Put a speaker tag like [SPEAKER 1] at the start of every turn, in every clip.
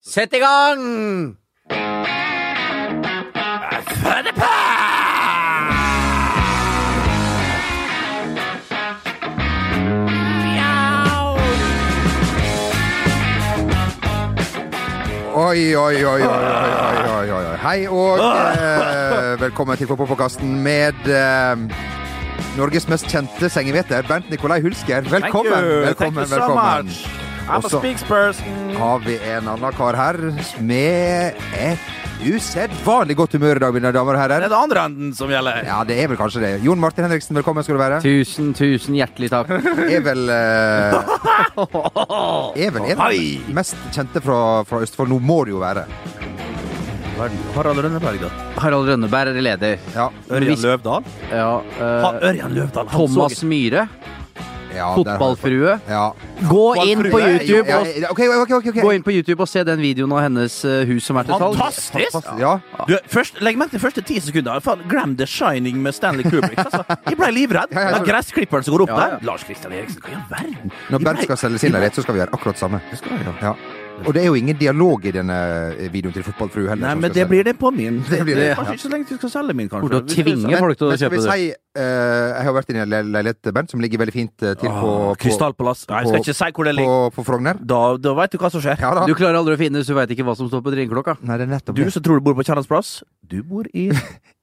[SPEAKER 1] Sett i gang!
[SPEAKER 2] Oi, oi, oi, oi, oi, oi, oi, oi. Hei og eh, velkommen til Fotballpåkasten med eh, Norges mest kjente sengehveter, Bernt Nikolai Hulsker. Velkommen!
[SPEAKER 3] Thank you
[SPEAKER 2] velkommen,
[SPEAKER 3] so
[SPEAKER 2] velkommen.
[SPEAKER 3] much. I'm
[SPEAKER 2] Og
[SPEAKER 3] a
[SPEAKER 2] så
[SPEAKER 3] speaks person.
[SPEAKER 2] har vi en annen kar her med et usedvanlig godt humør i dag, mine damer og
[SPEAKER 3] Er
[SPEAKER 2] herrer.
[SPEAKER 3] det andre enden som gjelder?
[SPEAKER 2] Ja, det er vel kanskje det. Jon Martin Henriksen, velkommen skal du være.
[SPEAKER 1] Tusen, tusen hjertelig takk.
[SPEAKER 2] Er vel eh, Er vel en av de
[SPEAKER 3] Oi.
[SPEAKER 2] mest kjente fra, fra Østfold. Nå må det jo være.
[SPEAKER 3] Harald Rønneberg, da.
[SPEAKER 1] Harald Rønneberg er leder.
[SPEAKER 2] Ja.
[SPEAKER 3] Ørjan
[SPEAKER 1] Hvis-
[SPEAKER 3] Løvdahl.
[SPEAKER 1] Ja,
[SPEAKER 3] Ha,
[SPEAKER 1] eh,
[SPEAKER 3] Ørjan Løvdahl. han
[SPEAKER 1] Thomas
[SPEAKER 3] så-
[SPEAKER 1] Myhre,
[SPEAKER 2] ja der har vi-
[SPEAKER 1] fotballfrue.
[SPEAKER 2] Ja.
[SPEAKER 1] Gå inn på
[SPEAKER 3] Fotballfrue,
[SPEAKER 1] YouTube
[SPEAKER 2] Ja,
[SPEAKER 1] og,
[SPEAKER 2] ja, ok, ok, ok, ok.
[SPEAKER 1] gå inn på YouTube og se den videoen av hennes eh, hus som er til salgs.
[SPEAKER 3] Fantastisk!
[SPEAKER 2] Ja.
[SPEAKER 3] Du, først, legg merke til de første ti sekunder. Faen, glem The Shining med Stanley Kubrick. Altså, jeg ble livredd.
[SPEAKER 2] Ja, ja, ja.
[SPEAKER 3] Den gressklipperen som går opp
[SPEAKER 1] Ja, ja.
[SPEAKER 3] der. Lars Kristian Eriksen, hva i all verden?
[SPEAKER 2] Når
[SPEAKER 3] Jeg
[SPEAKER 2] Bernt
[SPEAKER 3] ble-
[SPEAKER 2] skal selge sin leilighet, så skal vi gjøre akkurat det samme. Ja. Og det er jo ingen dialog i denne eh, videoen til Fotballfrue heller.
[SPEAKER 3] Nei,
[SPEAKER 2] som
[SPEAKER 3] men
[SPEAKER 2] skal
[SPEAKER 3] det blir det på min.
[SPEAKER 2] Det blir det,
[SPEAKER 3] Kanskje ikke så lenge til du skal selge min, kanskje.
[SPEAKER 1] Burde å tvinge folk til å
[SPEAKER 2] Men
[SPEAKER 1] kjøpe
[SPEAKER 2] skal vi
[SPEAKER 1] det.
[SPEAKER 2] si eh, Jeg har vært i en le- leilighet, Bernt, som ligger veldig fint eh, til på,
[SPEAKER 3] Åh,
[SPEAKER 2] på,
[SPEAKER 3] Krystallpalass. Ah, Nei, jeg skal
[SPEAKER 2] på-
[SPEAKER 3] ikke si hvor det
[SPEAKER 2] på,
[SPEAKER 3] ligger.
[SPEAKER 2] på Frogner.
[SPEAKER 3] Da, da veit du hva som skjer.
[SPEAKER 2] Ja da.
[SPEAKER 1] Du klarer aldri å finne det, så du veit ikke hva som står på drinkeklokka.
[SPEAKER 2] Nei, det er nettopp
[SPEAKER 3] Du
[SPEAKER 2] det.
[SPEAKER 3] som tror du bor på Kjernas plass, du bor i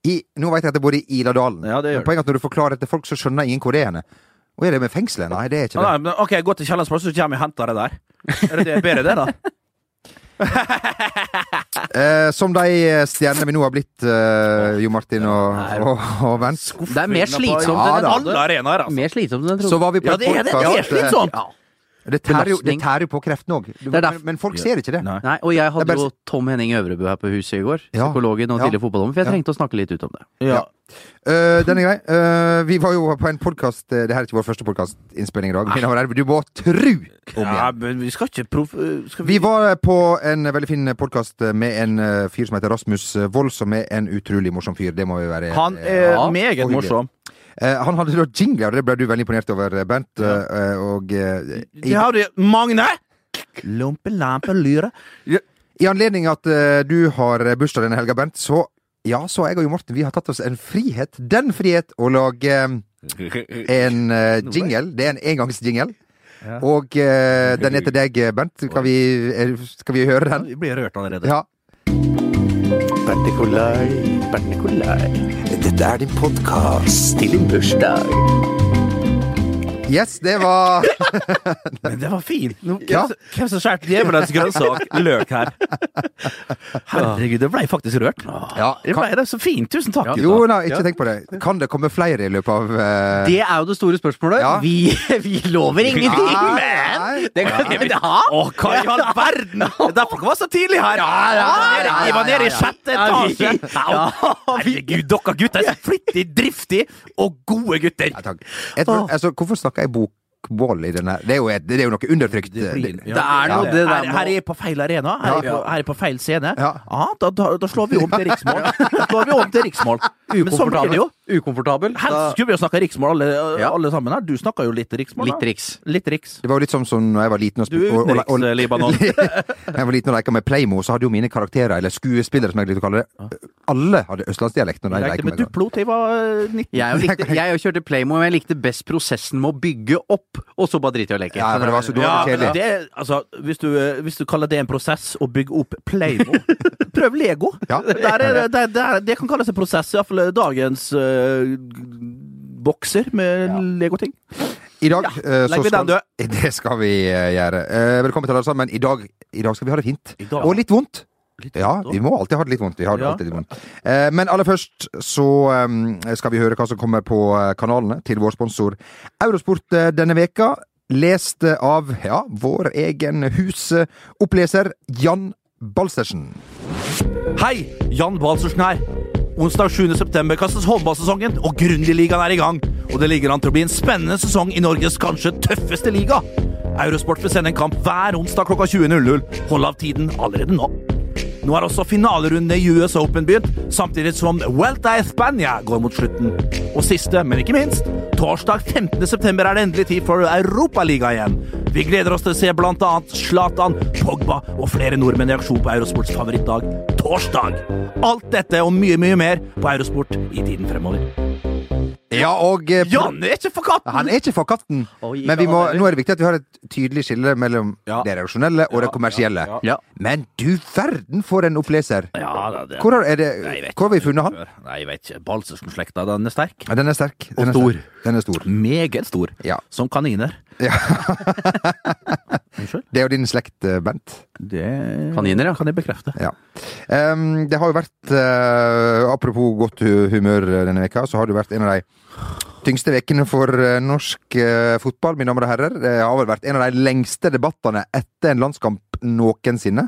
[SPEAKER 2] I, nå vet jeg at jeg bor i Iladalen.
[SPEAKER 3] Ja, det gjør
[SPEAKER 2] Men poenget er at når du forklarer det til folk, så skjønner ingen hvor det er. henne. Og er det med fengselet? Nei, det er ikke
[SPEAKER 3] ah,
[SPEAKER 2] det.
[SPEAKER 3] nei, men, OK, gå til Kjernas plass, så kommer jeg og henter det der. Er det det, bedre det, da?
[SPEAKER 2] Eh, som de eh, stjernene vi nå har blitt, eh, Jo Martin og, og, og Bernt.
[SPEAKER 1] Det er mer slitsomt
[SPEAKER 2] Ja,
[SPEAKER 1] enn
[SPEAKER 2] da.
[SPEAKER 1] jeg
[SPEAKER 3] Alle
[SPEAKER 1] trodde.
[SPEAKER 3] arenaer, altså.
[SPEAKER 1] Mer slitsomt enn jeg
[SPEAKER 2] Så
[SPEAKER 1] trodde.
[SPEAKER 2] var vi på
[SPEAKER 3] Ja, det er sånn. det. Det er
[SPEAKER 2] podcast, eh,
[SPEAKER 3] slitsomt.
[SPEAKER 2] Det tærer, jo, det
[SPEAKER 1] Belastning.
[SPEAKER 2] tærer jo på kreften òg.
[SPEAKER 1] er derfor-
[SPEAKER 2] Men, men folk ser ikke det.
[SPEAKER 3] Nei.
[SPEAKER 1] Nei, og jeg
[SPEAKER 2] Det
[SPEAKER 1] hadde
[SPEAKER 2] er bare-
[SPEAKER 1] jo Tom Henning Øvrebø her på huset i går,
[SPEAKER 2] Ja.
[SPEAKER 1] psykologen og
[SPEAKER 2] Ja.
[SPEAKER 1] tidligere fotballdommer, for jeg
[SPEAKER 2] Ja.
[SPEAKER 1] trengte å snakke litt ut om det.
[SPEAKER 3] Ja.
[SPEAKER 2] Øh, den er grei. Øh, vi var jo på en podkast Det her er ikke vår første podkastinnspilling i dag. mine herrer, Du må tru om
[SPEAKER 3] Ah. ja,
[SPEAKER 2] igjen.
[SPEAKER 3] men vi skal ikke proff... øh, Skal
[SPEAKER 2] Vi var på en veldig fin podkast med en øh, fyr som heter Rasmus Wold, som er en utrolig morsom fyr. Det må vi være
[SPEAKER 3] Han
[SPEAKER 2] eh,
[SPEAKER 3] er
[SPEAKER 1] Ja,
[SPEAKER 3] meget
[SPEAKER 2] og hyggelig.
[SPEAKER 3] morsom.
[SPEAKER 2] eh, Han hadde da jingler, og det ble du veldig imponert over, Bernt. eh, og eh, i,
[SPEAKER 3] Det har du Magne! Lompelampe lyre.
[SPEAKER 2] i anledning at eh, du har bursdag denne helga, Bernt, så ja, så jeg og Jo Morten vi har tatt oss en frihet. Den frihet å lage eh, en eh, jingle. Det er en engangsjingle.
[SPEAKER 3] Ja.
[SPEAKER 2] Og eh, den er til deg, Bernt. Skal vi, er, skal vi høre den?
[SPEAKER 3] Vi blir rørt allerede.
[SPEAKER 2] Ja.
[SPEAKER 4] Bert Nikolai, Bert Nikolai. Dette er din podkast til din bursdag.
[SPEAKER 2] Yes, det var
[SPEAKER 3] Men det var fint. Nå, hvem,
[SPEAKER 2] Ja.
[SPEAKER 3] som- hvem som skjærte djevelens grønnsak? Løk her. Herregud, det ble jeg faktisk rørt.
[SPEAKER 2] Ja,
[SPEAKER 3] Det
[SPEAKER 2] kan,
[SPEAKER 3] ble det så fint. Tusen takk. gutta.
[SPEAKER 2] Jo da, ikke tenk på det. Kan det komme flere i løpet av eh,
[SPEAKER 1] Det er jo det store spørsmålet.
[SPEAKER 2] Ja.
[SPEAKER 1] Vi, vi lover ingenting,
[SPEAKER 2] Nei, Ah, nei.
[SPEAKER 1] men det kan vi vel ha!
[SPEAKER 3] Å, hva i all verden! Det er Derfor var jeg så tidlig her.
[SPEAKER 1] ja, ja,
[SPEAKER 3] Jeg var nede
[SPEAKER 1] ja, ja,
[SPEAKER 3] i
[SPEAKER 1] ja.
[SPEAKER 3] sjette
[SPEAKER 1] Ja, vi-
[SPEAKER 3] etasje. Au. Herregud, dere gutter er så flittig, driftig og gode gutter.
[SPEAKER 2] ja, takk. Jeg tror,
[SPEAKER 3] Åh.
[SPEAKER 2] altså, hvorfor snakker jeg bokbål i denne? Det er jo, et, det er jo noe undertrykt. eh, Det-
[SPEAKER 1] Det er noe det der
[SPEAKER 3] her,
[SPEAKER 1] med å-
[SPEAKER 3] her er jeg på feil arena. Her er jeg på, her er jeg på feil scene.
[SPEAKER 2] Ja.
[SPEAKER 3] da, da, da slår vi om til riksmål. Da slår vi om til riksmål. Men sånn blir det jo.
[SPEAKER 1] Ukomfortabel.
[SPEAKER 3] Helst skulle vi jo snakka riksmål, alle,
[SPEAKER 1] Ja.
[SPEAKER 3] alle sammen her. Du snakka jo litt riksmål. da.
[SPEAKER 1] Litt triks.
[SPEAKER 3] Litt riks.
[SPEAKER 2] Det var jo litt som som da jeg var liten og,
[SPEAKER 3] Du
[SPEAKER 2] sp-
[SPEAKER 3] er eh,
[SPEAKER 2] og, og, og,
[SPEAKER 3] utenriks-Libanon.
[SPEAKER 2] jeg var liten og leka med Playmo, så hadde jo mine karakterer, eller skuespillere, som jeg likte å kalle det, alle hadde østlandsdialekt når de
[SPEAKER 3] Lekte
[SPEAKER 2] leka
[SPEAKER 3] med
[SPEAKER 2] med det.
[SPEAKER 3] Duplo til jeg var eh, 19.
[SPEAKER 1] Jeg, jo likte, jeg jo kjørte Playmo, men jeg likte best prosessen med å bygge opp, og så bare drite i å leke.
[SPEAKER 2] Ja, men det var så
[SPEAKER 3] Ja,
[SPEAKER 2] dårlig
[SPEAKER 3] men
[SPEAKER 2] kjedelig.
[SPEAKER 3] det, er- altså, hvis, du, eh, hvis du kaller det en prosess å bygge opp Playmo Prøv Lego!
[SPEAKER 2] Ja.
[SPEAKER 3] Der er, det- der, der, det kan kalles en prosess, iallfall dagens eh, bokser med Lego-ting.
[SPEAKER 2] I dag eh, så
[SPEAKER 3] legger vi
[SPEAKER 2] skal,
[SPEAKER 3] den død.
[SPEAKER 2] Det skal vi eh, gjøre. Eh, velkommen til alle sammen. I dag, I dag skal vi ha det fint.
[SPEAKER 3] I dag.
[SPEAKER 2] Og litt vondt.
[SPEAKER 3] Litt
[SPEAKER 2] Ja,
[SPEAKER 3] vondt også.
[SPEAKER 2] vi må alltid ha det litt vondt. Vi har det
[SPEAKER 3] Ja.
[SPEAKER 2] alltid litt vondt. Eh, men aller først så eh, skal vi høre hva som kommer på eh, kanalene til vår sponsor Eurosport eh, denne veka. Lest eh, av ja, vår egen husoppleser Jan Balstersen.
[SPEAKER 3] Hei! Jan Balsersen her. Onsdag 7. september kastes håndballsesongen, og Grundig-ligaen er i gang. Og det ligger an til å bli en spennende sesong i Norges kanskje tøffeste liga. Eurosport vil sende en kamp hver onsdag klokka 20.00. Hold av tiden allerede nå. Nå er også finalerundene i US Open begynt, samtidig som Vuelta a España går mot slutten. Og siste, men ikke minst, torsdag 15. september er det endelig tid for Europaliga igjen. Vi gleder oss til å se blant annet Zlatan, Pogba og flere nordmenn i aksjon på Eurosports favorittdag, torsdag. Alt dette og mye, mye mer på Eurosport i tiden fremover.
[SPEAKER 2] Ja, og eh, pro-
[SPEAKER 3] Janne er ikke for katten!
[SPEAKER 2] Han er ikke for katten,
[SPEAKER 1] Oi,
[SPEAKER 2] men vi
[SPEAKER 1] ikke
[SPEAKER 2] må,
[SPEAKER 1] han heller.
[SPEAKER 2] nå er det viktig at vi har et tydelig skille mellom
[SPEAKER 3] Ja.
[SPEAKER 2] det redaksjonelle og det kommersielle.
[SPEAKER 1] Ja.
[SPEAKER 2] Men du verden for en oppleser!
[SPEAKER 3] Ja, da, det
[SPEAKER 2] Hvor har, er det,
[SPEAKER 3] jeg vet
[SPEAKER 2] hvor har vi funnet han?
[SPEAKER 3] Nei, jeg vet ikke. Balsersen-slekta, den er sterk.
[SPEAKER 2] Ja, den er sterk. Den
[SPEAKER 1] Og
[SPEAKER 2] er
[SPEAKER 1] stor.
[SPEAKER 2] Sterk. Den er stor.
[SPEAKER 3] Meget stor.
[SPEAKER 2] Ja.
[SPEAKER 3] Som kaniner.
[SPEAKER 2] Ja.
[SPEAKER 3] Unnskyld?
[SPEAKER 2] Det er jo din slekt, eh, Bent.
[SPEAKER 3] Det
[SPEAKER 1] Kaniner, ja.
[SPEAKER 3] kan jeg bekrefte.
[SPEAKER 2] Ja. Ehm, det har jo vært eh, Apropos godt hu- humør denne veka, så har det jo vært en av de tyngste vekene for eh, norsk eh, fotball, mine damer og herrer. Det har vel vært en av de lengste debattene etter en landskamp noensinne.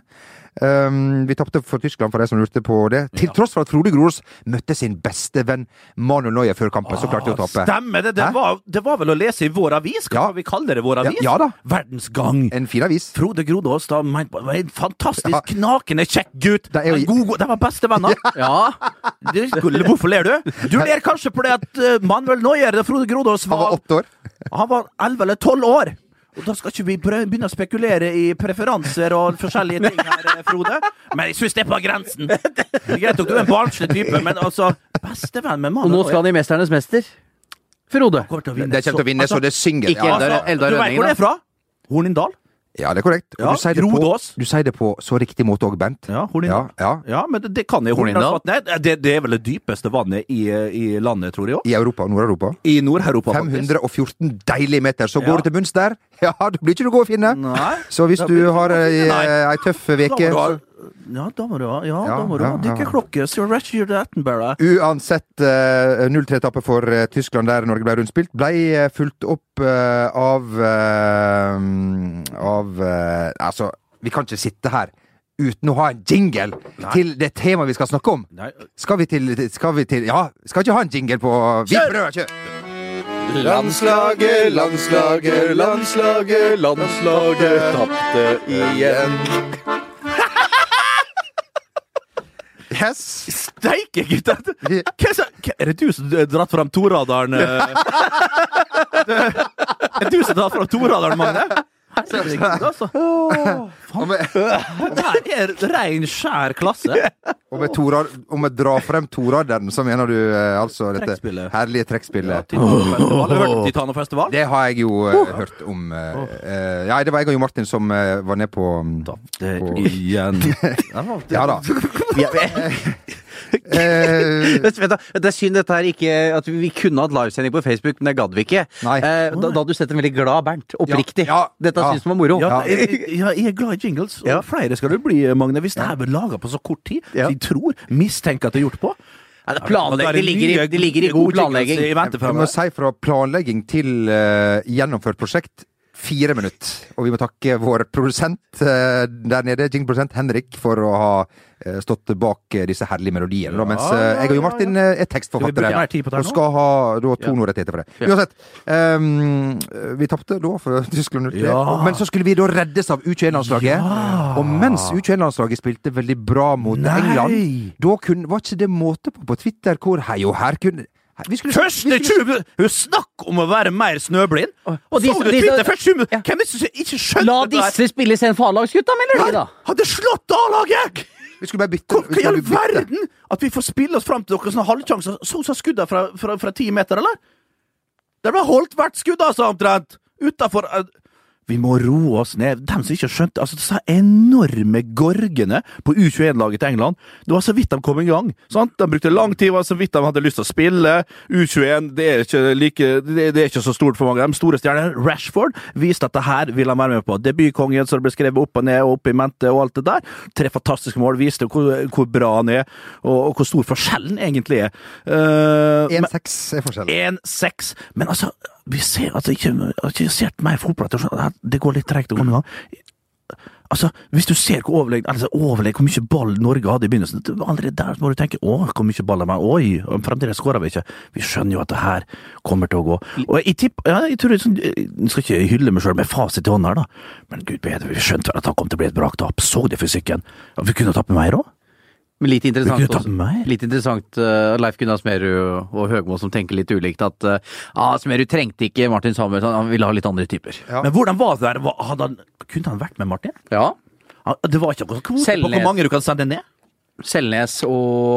[SPEAKER 2] Ehm, vi tapte for Tyskland, for de som lurte på det. Til tross for at Frode Grorås møtte sin beste venn Manuel Neuer før kampen, så klarte de å tape.
[SPEAKER 3] Ah, Stemmer det! Det
[SPEAKER 2] Hæ?
[SPEAKER 3] var, det var vel å lese i Vår Avis? Hva
[SPEAKER 2] Ja.
[SPEAKER 3] skal vi kalle det? Vår
[SPEAKER 2] Ja,
[SPEAKER 3] Avis?
[SPEAKER 2] ja da.
[SPEAKER 3] Verdens Gang.
[SPEAKER 2] En fin avis.
[SPEAKER 3] Frode Grodås da, men- var en fantastisk
[SPEAKER 2] Ja.
[SPEAKER 3] knakende kjekk gutt.
[SPEAKER 2] Det er jo-
[SPEAKER 3] En god, god, de var beste venner.
[SPEAKER 1] Ja.
[SPEAKER 3] Du, Gulle, hvorfor ler du? Du ler kanskje fordi at eh, Manuel Neuer og Frode Grodås
[SPEAKER 2] Han var
[SPEAKER 3] var
[SPEAKER 2] åtte år.
[SPEAKER 3] Han var 11 eller 12 år! Og da skal ikke vi brø- begynne å spekulere i preferanser og forskjellige ting her, eh, Frode. Men jeg syns det er på grensen. Det er greit nok du er en barnslig type, men altså Bestevenn med
[SPEAKER 1] Og
[SPEAKER 3] mannen
[SPEAKER 1] nå skal han i Mesternes mester. Frode.
[SPEAKER 3] kommer til å vinne.
[SPEAKER 2] De kommer til å vinne, så
[SPEAKER 3] altså,
[SPEAKER 2] det synger.
[SPEAKER 1] ikke
[SPEAKER 2] Ja,
[SPEAKER 1] Eldar-
[SPEAKER 3] altså,
[SPEAKER 1] Eldar
[SPEAKER 3] Du vet
[SPEAKER 1] Rønningen,
[SPEAKER 3] hvor det er fra? Hornindal?
[SPEAKER 2] Ja, det er korrekt. Og
[SPEAKER 3] Ja,
[SPEAKER 2] du sier det, på,
[SPEAKER 3] Grodås.
[SPEAKER 2] du sier det på så riktig måte òg, Bent.
[SPEAKER 3] Ja,
[SPEAKER 2] Ja,
[SPEAKER 3] Hornindal.
[SPEAKER 2] ja.
[SPEAKER 3] Ja, men det, det kan jeg.
[SPEAKER 1] Hornindal?
[SPEAKER 3] Hornindalsvatnet. Nei, Det, det er vel det dypeste vannet i, i landet, tror jeg òg.
[SPEAKER 2] I Europa og Nord-Europa.
[SPEAKER 3] I Nord-Europa, faktisk.
[SPEAKER 2] 514 deilige meter. Så
[SPEAKER 3] Ja.
[SPEAKER 2] går du til bunns der, ja, da blir ikke du god å finne.
[SPEAKER 3] Nei.
[SPEAKER 2] Så hvis
[SPEAKER 3] Da
[SPEAKER 2] du
[SPEAKER 3] blir det
[SPEAKER 2] har
[SPEAKER 3] ikke
[SPEAKER 2] ei,
[SPEAKER 3] å finne, nei.
[SPEAKER 2] ei tøff veke
[SPEAKER 3] Da må
[SPEAKER 2] så-
[SPEAKER 3] du ha- Ja, da må du ha Ja,
[SPEAKER 2] Ja,
[SPEAKER 3] da må du ha
[SPEAKER 2] ja, ja.
[SPEAKER 3] dykkerklokke. Sir Ratchet Attenborough.
[SPEAKER 2] Uansett, eh, 0-3-etappe for eh, Tyskland der Norge ble rundspilt, ble eh, fulgt opp eh, av eh, Av eh, Altså, vi kan ikke sitte her uten å ha en jingle til det temaet vi skal snakke om.
[SPEAKER 3] Nei,
[SPEAKER 2] Skal vi til, skal vi til Ja, skal ikke ha en jingle på Vi
[SPEAKER 3] Kjør!
[SPEAKER 2] prøver, kjør!
[SPEAKER 5] Landslaget, landslaget, landslaget, landslaget tapte igjen.
[SPEAKER 2] Yes!
[SPEAKER 3] Steike, gutter! Hva er så- hva- Er det du som har dratt fram toradaren? eh? Er det du som har dratt fram toradaren, Magne? Herregud, altså. Åh,
[SPEAKER 2] Og med,
[SPEAKER 3] Det her er rein, skjær klasse.
[SPEAKER 2] og med Torar, og med dra frem Toradden, så mener du eh, altså dette
[SPEAKER 3] Trekkspillet.
[SPEAKER 2] herlige
[SPEAKER 3] Ja, Oh.
[SPEAKER 2] trekkspillet.
[SPEAKER 3] Titanofestival. Har du hørt om Titanofestival?
[SPEAKER 2] Det har jeg jo eh, hørt om. eh, eh, ja, det var jeg og Jo Martin som eh, var ned på mm,
[SPEAKER 3] Det igjen.
[SPEAKER 2] Ja da. Eh,
[SPEAKER 1] Vent, vent da. Det er synd dette her ikke At vi kunne hatt livesending på Facebook, men det gadd vi ikke.
[SPEAKER 2] Nei.
[SPEAKER 1] Eh, da, da hadde du sett en veldig glad Bernt. Oppriktig.
[SPEAKER 2] Ja, ja,
[SPEAKER 1] Dette
[SPEAKER 2] ja.
[SPEAKER 1] syns han var moro.
[SPEAKER 3] Ja, jeg, jeg jeg er glad i jingles, og
[SPEAKER 1] Ja.
[SPEAKER 3] flere skal det bli, eh, Magne. Hvis det her blir laga på så kort tid,
[SPEAKER 1] Ja.
[SPEAKER 3] de tror, mistenker at det er gjort på
[SPEAKER 1] Nei, det er planlegging. Det ligger, i- det ligger i god planlegging.
[SPEAKER 2] jeg må si fra planlegging til eh, gjennomført prosjekt fire minutter. Og vi må takke vår produsent eh, der nede, jingleprodusent Henrik, for å ha eh, stått bak eh, disse herlige melodiene. da, mens
[SPEAKER 3] Ja,
[SPEAKER 2] eh,
[SPEAKER 3] ja,
[SPEAKER 2] jeg og Jo
[SPEAKER 3] ja,
[SPEAKER 2] Martin eh, er
[SPEAKER 3] Skal vi bruke
[SPEAKER 2] tekstforfattere.
[SPEAKER 3] mer tid på det her
[SPEAKER 2] og
[SPEAKER 3] nå?
[SPEAKER 2] skal ha da to nordrettigheter for det. Uansett. ehm, vi tapte da for Tyskland 03,
[SPEAKER 3] Ja.
[SPEAKER 2] men så skulle vi da reddes av U21-landslaget. Og mens U21-landslaget spilte veldig bra mot
[SPEAKER 3] Nei.
[SPEAKER 2] England, da kunne, var ikke det måte på på Twitter hvor Hei og her kunne Hei, vi skulle-
[SPEAKER 3] Første
[SPEAKER 2] vi skulle-
[SPEAKER 3] 20 Hun snakk om å være mer snøblind!
[SPEAKER 1] og de-
[SPEAKER 3] så du
[SPEAKER 1] de-
[SPEAKER 3] Twitter først 20
[SPEAKER 1] Ja.
[SPEAKER 3] Hvem er det som ikke skjønte
[SPEAKER 1] La
[SPEAKER 3] det der?
[SPEAKER 1] disse spille sen for A-lagsgutta, mener du? Da?
[SPEAKER 3] Hadde slått A-laget!
[SPEAKER 2] Vi skulle bare bytte.
[SPEAKER 3] Hvor-
[SPEAKER 2] vi
[SPEAKER 3] Hva i
[SPEAKER 2] skulle
[SPEAKER 3] all
[SPEAKER 2] bare bytte.
[SPEAKER 3] verden? At vi får spille oss fram til noen sånne halvsjanser? Sånn som skuddene fra, fra, fra ti meter, eller? Det ble holdt hvert skudd, altså, omtrent! eh, Utafor Vi må roe oss ned. Dem som ikke skjønte Altså, disse enorme gorgene på U21-laget til England Det var så vidt de kom i gang. Sant? De brukte lang tid, var så vidt de hadde lyst til å spille. U21 det er ikke, like, det, det er ikke så stort for mange. av dem. store stjerner, Rashford, viste at det her ville han være med på. Debutkongen, som ble skrevet opp og ned og opp i mente og alt det der. Tre fantastiske mål, viste hvor, hvor bra han er, og, og hvor stor forskjellen egentlig er. Eh,
[SPEAKER 2] 1-6 er forskjellen.
[SPEAKER 3] 1-6. Men altså, vi ser at det ikke, at det ikke ser mer fotball. at det- Det går litt tregt å komme i gang. Altså, Hvis du ser hvor overlegg, altså, overlegg, hvor mye ball Norge hadde i begynnelsen det var Allerede der må du tenke å, hvor mye ball de har. Oi, fremdeles skårer vi ikke. Vi skjønner jo at det her kommer til å gå. Og jeg, tipp, ja, jeg tror, sånn, jeg skal ikke hylle meg sjøl med fasit i hånda her, da, men gud bedre, vi skjønte vel at han kom til å bli et braktap. Så det fysikken. Ja, vi kunne tapt mer òg.
[SPEAKER 1] Men litt
[SPEAKER 3] Vi
[SPEAKER 1] interessant,
[SPEAKER 3] kunne tatt
[SPEAKER 1] også-
[SPEAKER 3] mer.
[SPEAKER 1] litt interessant eh, Leif Gunnar Smerud og Høgmo som tenker litt ulikt at eh, ah, Smerud trengte ikke Martin Samuelsson, han ville ha litt andre typer.
[SPEAKER 2] Ja.
[SPEAKER 3] Men hvordan var det der? Hva- Hadde han, kunne han vært med Martin?
[SPEAKER 1] Ja.
[SPEAKER 3] Han- Det var ikke noen kvote på
[SPEAKER 1] Selvled.
[SPEAKER 3] hvor mange du kan sende ned.
[SPEAKER 1] Selnes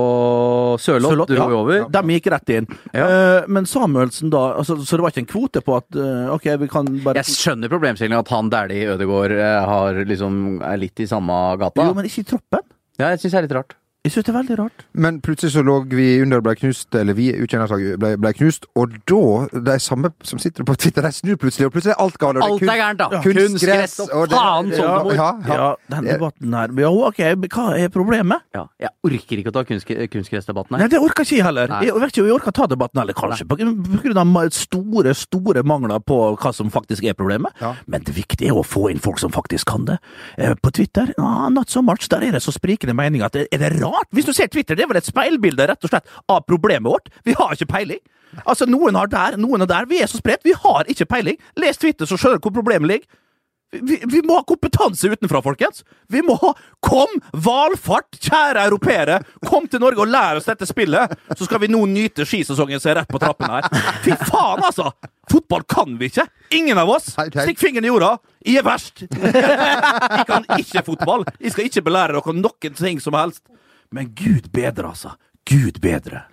[SPEAKER 1] og Sørloth
[SPEAKER 3] Sørloth,
[SPEAKER 1] dro
[SPEAKER 3] ja.
[SPEAKER 1] jo over.
[SPEAKER 3] De gikk rett inn. Eh, men Samuelsen, da altså, Så det var ikke en kvote på at eh, OK, vi kan bare
[SPEAKER 1] Jeg skjønner problemstillingen at han Dæhlie Ødegaard eh, har liksom, er litt i samme gata.
[SPEAKER 3] Jo, men ikke i troppen.
[SPEAKER 1] Ja, jeg syns det er litt rart.
[SPEAKER 3] Jeg syns det er veldig rart.
[SPEAKER 2] Men plutselig så lå vi under og ble knust, eller vi utkjennerslag ble, ble knust, og da De samme som sitter på Twitter, de snur plutselig, og plutselig er alt galt. og det
[SPEAKER 1] Alt
[SPEAKER 2] kun-
[SPEAKER 1] er gærent, da!
[SPEAKER 2] kunstgress,
[SPEAKER 1] Kunstgress og
[SPEAKER 2] og det-
[SPEAKER 1] faen
[SPEAKER 2] ja,
[SPEAKER 1] sånn!
[SPEAKER 2] ja,
[SPEAKER 3] Ja,
[SPEAKER 2] ja.
[SPEAKER 3] den debatten her Ja, OK, men hva er problemet?
[SPEAKER 1] Ja, jeg orker ikke å ta kunst, kunstgressdebatten
[SPEAKER 3] Nei,
[SPEAKER 1] her.
[SPEAKER 3] det orker ikke jeg heller.
[SPEAKER 1] Nei.
[SPEAKER 3] Jeg vet ikke om jeg orker å ta debatten heller, kanskje. På, på grunn av ma- store, store mangler på hva som faktisk er problemet.
[SPEAKER 2] Ja.
[SPEAKER 3] Men det viktige er å få inn folk som faktisk kan det. Eh, På Twitter, ah, not so much. Der er det så sprikende meninger at det- er det rart? Hvis du ser Twitter, det er vel et speilbilde, rett og slett, av problemet vårt. Vi har ikke peiling. Altså, noen har der, noen har der. Vi er så spredt. Vi har ikke peiling. Les Twitter, så skjønner du hvor problemet ligger. Vi, vi må ha kompetanse utenfra, folkens! Vi må ha Kom, valfart, kjære europeere! Kom til Norge og lær oss dette spillet! Så skal vi nå nyte skisesongen som er rett på trappene her. Fy faen, altså! Fotball kan vi ikke! Ingen av oss!
[SPEAKER 2] Nei, nei.
[SPEAKER 3] Stikk fingeren i jorda! Jeg er verst! Jeg kan ikke fotball! Jeg skal ikke belære dere noen ting som helst. Men gud bedre, altså. Gud bedre.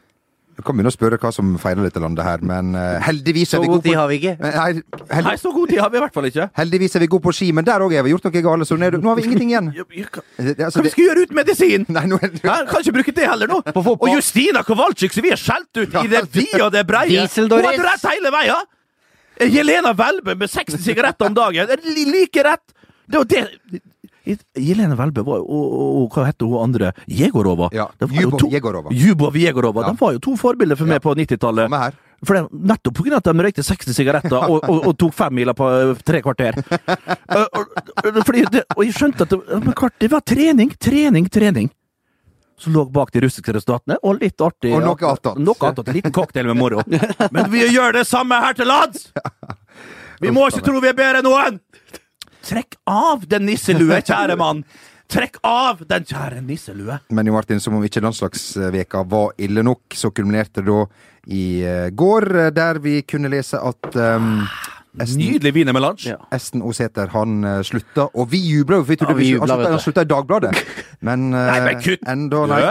[SPEAKER 2] Du kan begynne å spørre hva som feiler dette landet her, men eh, heldigvis er
[SPEAKER 1] Så
[SPEAKER 2] vi
[SPEAKER 1] god
[SPEAKER 2] gode
[SPEAKER 1] tid
[SPEAKER 2] på
[SPEAKER 1] har vi ikke.
[SPEAKER 2] Men Nei, held,
[SPEAKER 3] Nei, så god tid har vi i hvert fall ikke.
[SPEAKER 2] heldigvis er vi gode på ski, men der òg er vi gjort noe galt, så nå er det- nå har vi ingenting igjen.
[SPEAKER 3] Jeg- jeg kan-
[SPEAKER 2] Det- det- altså,
[SPEAKER 3] Hva vi
[SPEAKER 2] det-
[SPEAKER 3] skal gjøre uten medisin?
[SPEAKER 2] Nei, nå er det
[SPEAKER 3] Hæ? Kan ikke bruke det heller nå.
[SPEAKER 2] fotball.
[SPEAKER 3] Og Justina Kowalczyk, som vi har skjelt ut i det vide og det breie. Hun
[SPEAKER 1] Dieseldoris.
[SPEAKER 3] hadde rett hele veia! Jelena Welbø med 60 sigaretter om dagen. Det er li- Like rett! Det var det Jelena Welbø var jo og, og, og hva heter hun andre? Jegorova.
[SPEAKER 2] Ja,
[SPEAKER 3] Det var jo
[SPEAKER 2] Ljubov
[SPEAKER 3] to-
[SPEAKER 2] Jegorova.
[SPEAKER 3] Ljubov Jegorova. De var jo to forbilder for meg på 90-tallet.
[SPEAKER 2] Samme her.
[SPEAKER 3] For det, nettopp pga. at de røykte 60 sigaretter og, og, og tok femmiler på ø, tre kvarter. Eh, og, og- fordi det, og jeg skjønte at det, ja, men klart, det var trening, trening, trening. Som lå bak de russiske resultatene, og litt artig.
[SPEAKER 2] Og noe attåt.
[SPEAKER 3] Noe attåt, En liten cocktail med moro. Men vi gjør det samme her til lands! Vi må ikke tro vi er bedre enn noen! Trekk av den nisselue, kjære mann! Trekk av den kjære nisselue.
[SPEAKER 2] Men Jo Martin, som om ikke landslagsveka var ille nok, så kulminerte det da i eh, går, eh, der vi kunne lese at um, Esten,
[SPEAKER 3] Ah, Nydelig wienermelange.
[SPEAKER 1] Ja.
[SPEAKER 2] Esten Oseter han eh, slutta, og vi jubla jo, for vi trodde
[SPEAKER 1] Ja, vi
[SPEAKER 2] vi
[SPEAKER 1] jublet,
[SPEAKER 2] skulle- han slutta-
[SPEAKER 1] vet
[SPEAKER 2] han
[SPEAKER 1] du.
[SPEAKER 2] slutta i Dagbladet. Men, eh,
[SPEAKER 3] Nei, men kutt!
[SPEAKER 2] Enda, nei.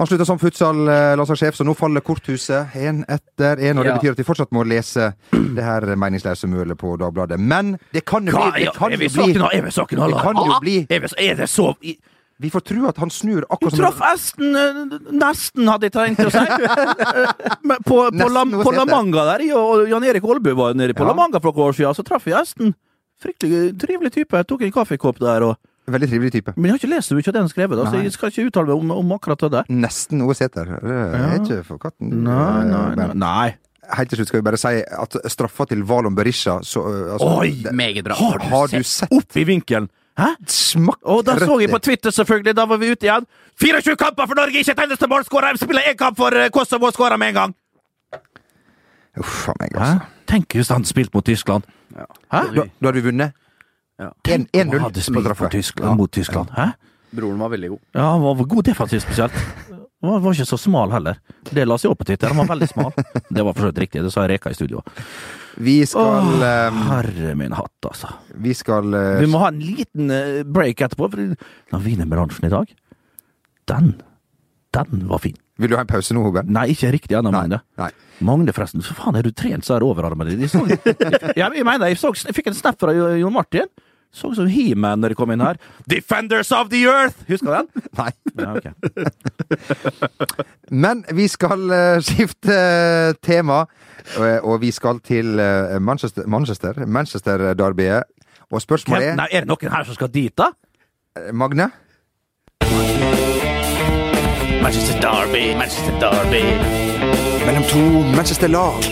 [SPEAKER 2] Han slutta som futsal-landslagssjef, så nå faller korthuset én etter én. Og det
[SPEAKER 1] Ja.
[SPEAKER 2] betyr at vi fortsatt må lese det her meningsløse mølet på Dagbladet. Men det kan jo
[SPEAKER 3] Hva
[SPEAKER 2] bli, det
[SPEAKER 3] er-
[SPEAKER 2] kan
[SPEAKER 3] er vi
[SPEAKER 2] jo
[SPEAKER 3] saken
[SPEAKER 2] bli
[SPEAKER 3] av- Er vi saken av
[SPEAKER 2] Det kan jo
[SPEAKER 3] Ah,
[SPEAKER 2] bli-
[SPEAKER 3] Er, vi, er det så i-
[SPEAKER 2] Vi får tro at han snur
[SPEAKER 3] Du
[SPEAKER 2] akkurat
[SPEAKER 3] traff
[SPEAKER 2] som
[SPEAKER 3] Esten eh, nesten, hadde jeg tenkt å si. Eh, men på, på,
[SPEAKER 2] Nesten
[SPEAKER 3] La,
[SPEAKER 2] noe
[SPEAKER 3] på La
[SPEAKER 2] sete.
[SPEAKER 3] Manga der, jeg og Jan Erik Aalbu var nede på
[SPEAKER 2] Ja.
[SPEAKER 3] La Manga for noen år siden, så traff jeg Esten. Fryktelig trivelig type. Jeg tok en kaffekopp der, og,
[SPEAKER 2] Veldig trivelig type.
[SPEAKER 3] men jeg har ikke lest så mye av det han skrev, da, så jeg skal ikke uttale meg om, om akkurat det der.
[SPEAKER 2] Nesten Oseter. Det er ikke for katten. Eh, men-
[SPEAKER 3] nei.
[SPEAKER 2] Helt til slutt skal vi bare si at straffa til Valon Berisha så, eh, altså,
[SPEAKER 3] Oi!
[SPEAKER 2] det-
[SPEAKER 1] Meget bra.
[SPEAKER 3] Har du,
[SPEAKER 2] Har du
[SPEAKER 3] sett?
[SPEAKER 2] sett?
[SPEAKER 3] Opp i vinkelen! Hæ?
[SPEAKER 2] Smakk
[SPEAKER 3] Og da
[SPEAKER 2] rett
[SPEAKER 3] så jeg
[SPEAKER 2] i.
[SPEAKER 3] på Twitter, selvfølgelig. Da var vi ute igjen. 24 kamper for Norge, ikke et eneste mål skåra! Spiller én kamp for eh, Kosovo og skåra med en gang!
[SPEAKER 2] Uff a meg,
[SPEAKER 3] Hæ?
[SPEAKER 2] altså.
[SPEAKER 3] Tenk hvis han spilte mot Tyskland. Hæ?
[SPEAKER 2] Da, da hadde vi vunnet.
[SPEAKER 1] Ja.
[SPEAKER 2] En- 1-0
[SPEAKER 3] Han hadde spilt
[SPEAKER 2] på straffe.
[SPEAKER 3] mot Tyskland. Mot Tyskland. Hæ?
[SPEAKER 1] Broren var veldig god.
[SPEAKER 3] Ja, han var god defensivt spesielt. Han var- var ikke så smal heller. Det la seg opp på Twitter. Han var veldig smal. Det var for så vidt riktig. Det sa Reka i studio.
[SPEAKER 2] Vi skal,
[SPEAKER 3] Åh,
[SPEAKER 2] eh,
[SPEAKER 3] herre min hatt, altså.
[SPEAKER 2] vi skal eh,
[SPEAKER 3] Vi må ha en liten eh, break etterpå, for den wienerbransjen i dag, den Den var fin.
[SPEAKER 2] Vil du ha en pause nå, Hågen?
[SPEAKER 3] Nei, ikke riktig ennå, Magne.
[SPEAKER 2] Nei.
[SPEAKER 3] Magne, forresten. Så faen, er du trent så her overarmen din? Jeg, så, jeg, jeg mener, jeg, så, jeg fikk en snap fra Jo- Jon Martin. Så ut som He-Man når jeg kom inn her. Defenders of the Earth! Husker du den?
[SPEAKER 2] Nei.
[SPEAKER 3] Ja, ok.
[SPEAKER 2] Men vi skal eh, skifte eh, tema, og, og vi skal til eh, Manchester, Manchester, Manchester Derbyet. Og spørsmålet
[SPEAKER 3] Hvem,
[SPEAKER 2] er
[SPEAKER 3] nei, er det noen her som skal dit, da?
[SPEAKER 2] Magne?
[SPEAKER 3] Manchester Derby, Manchester Derby.
[SPEAKER 4] Mellom to Manchester-lag.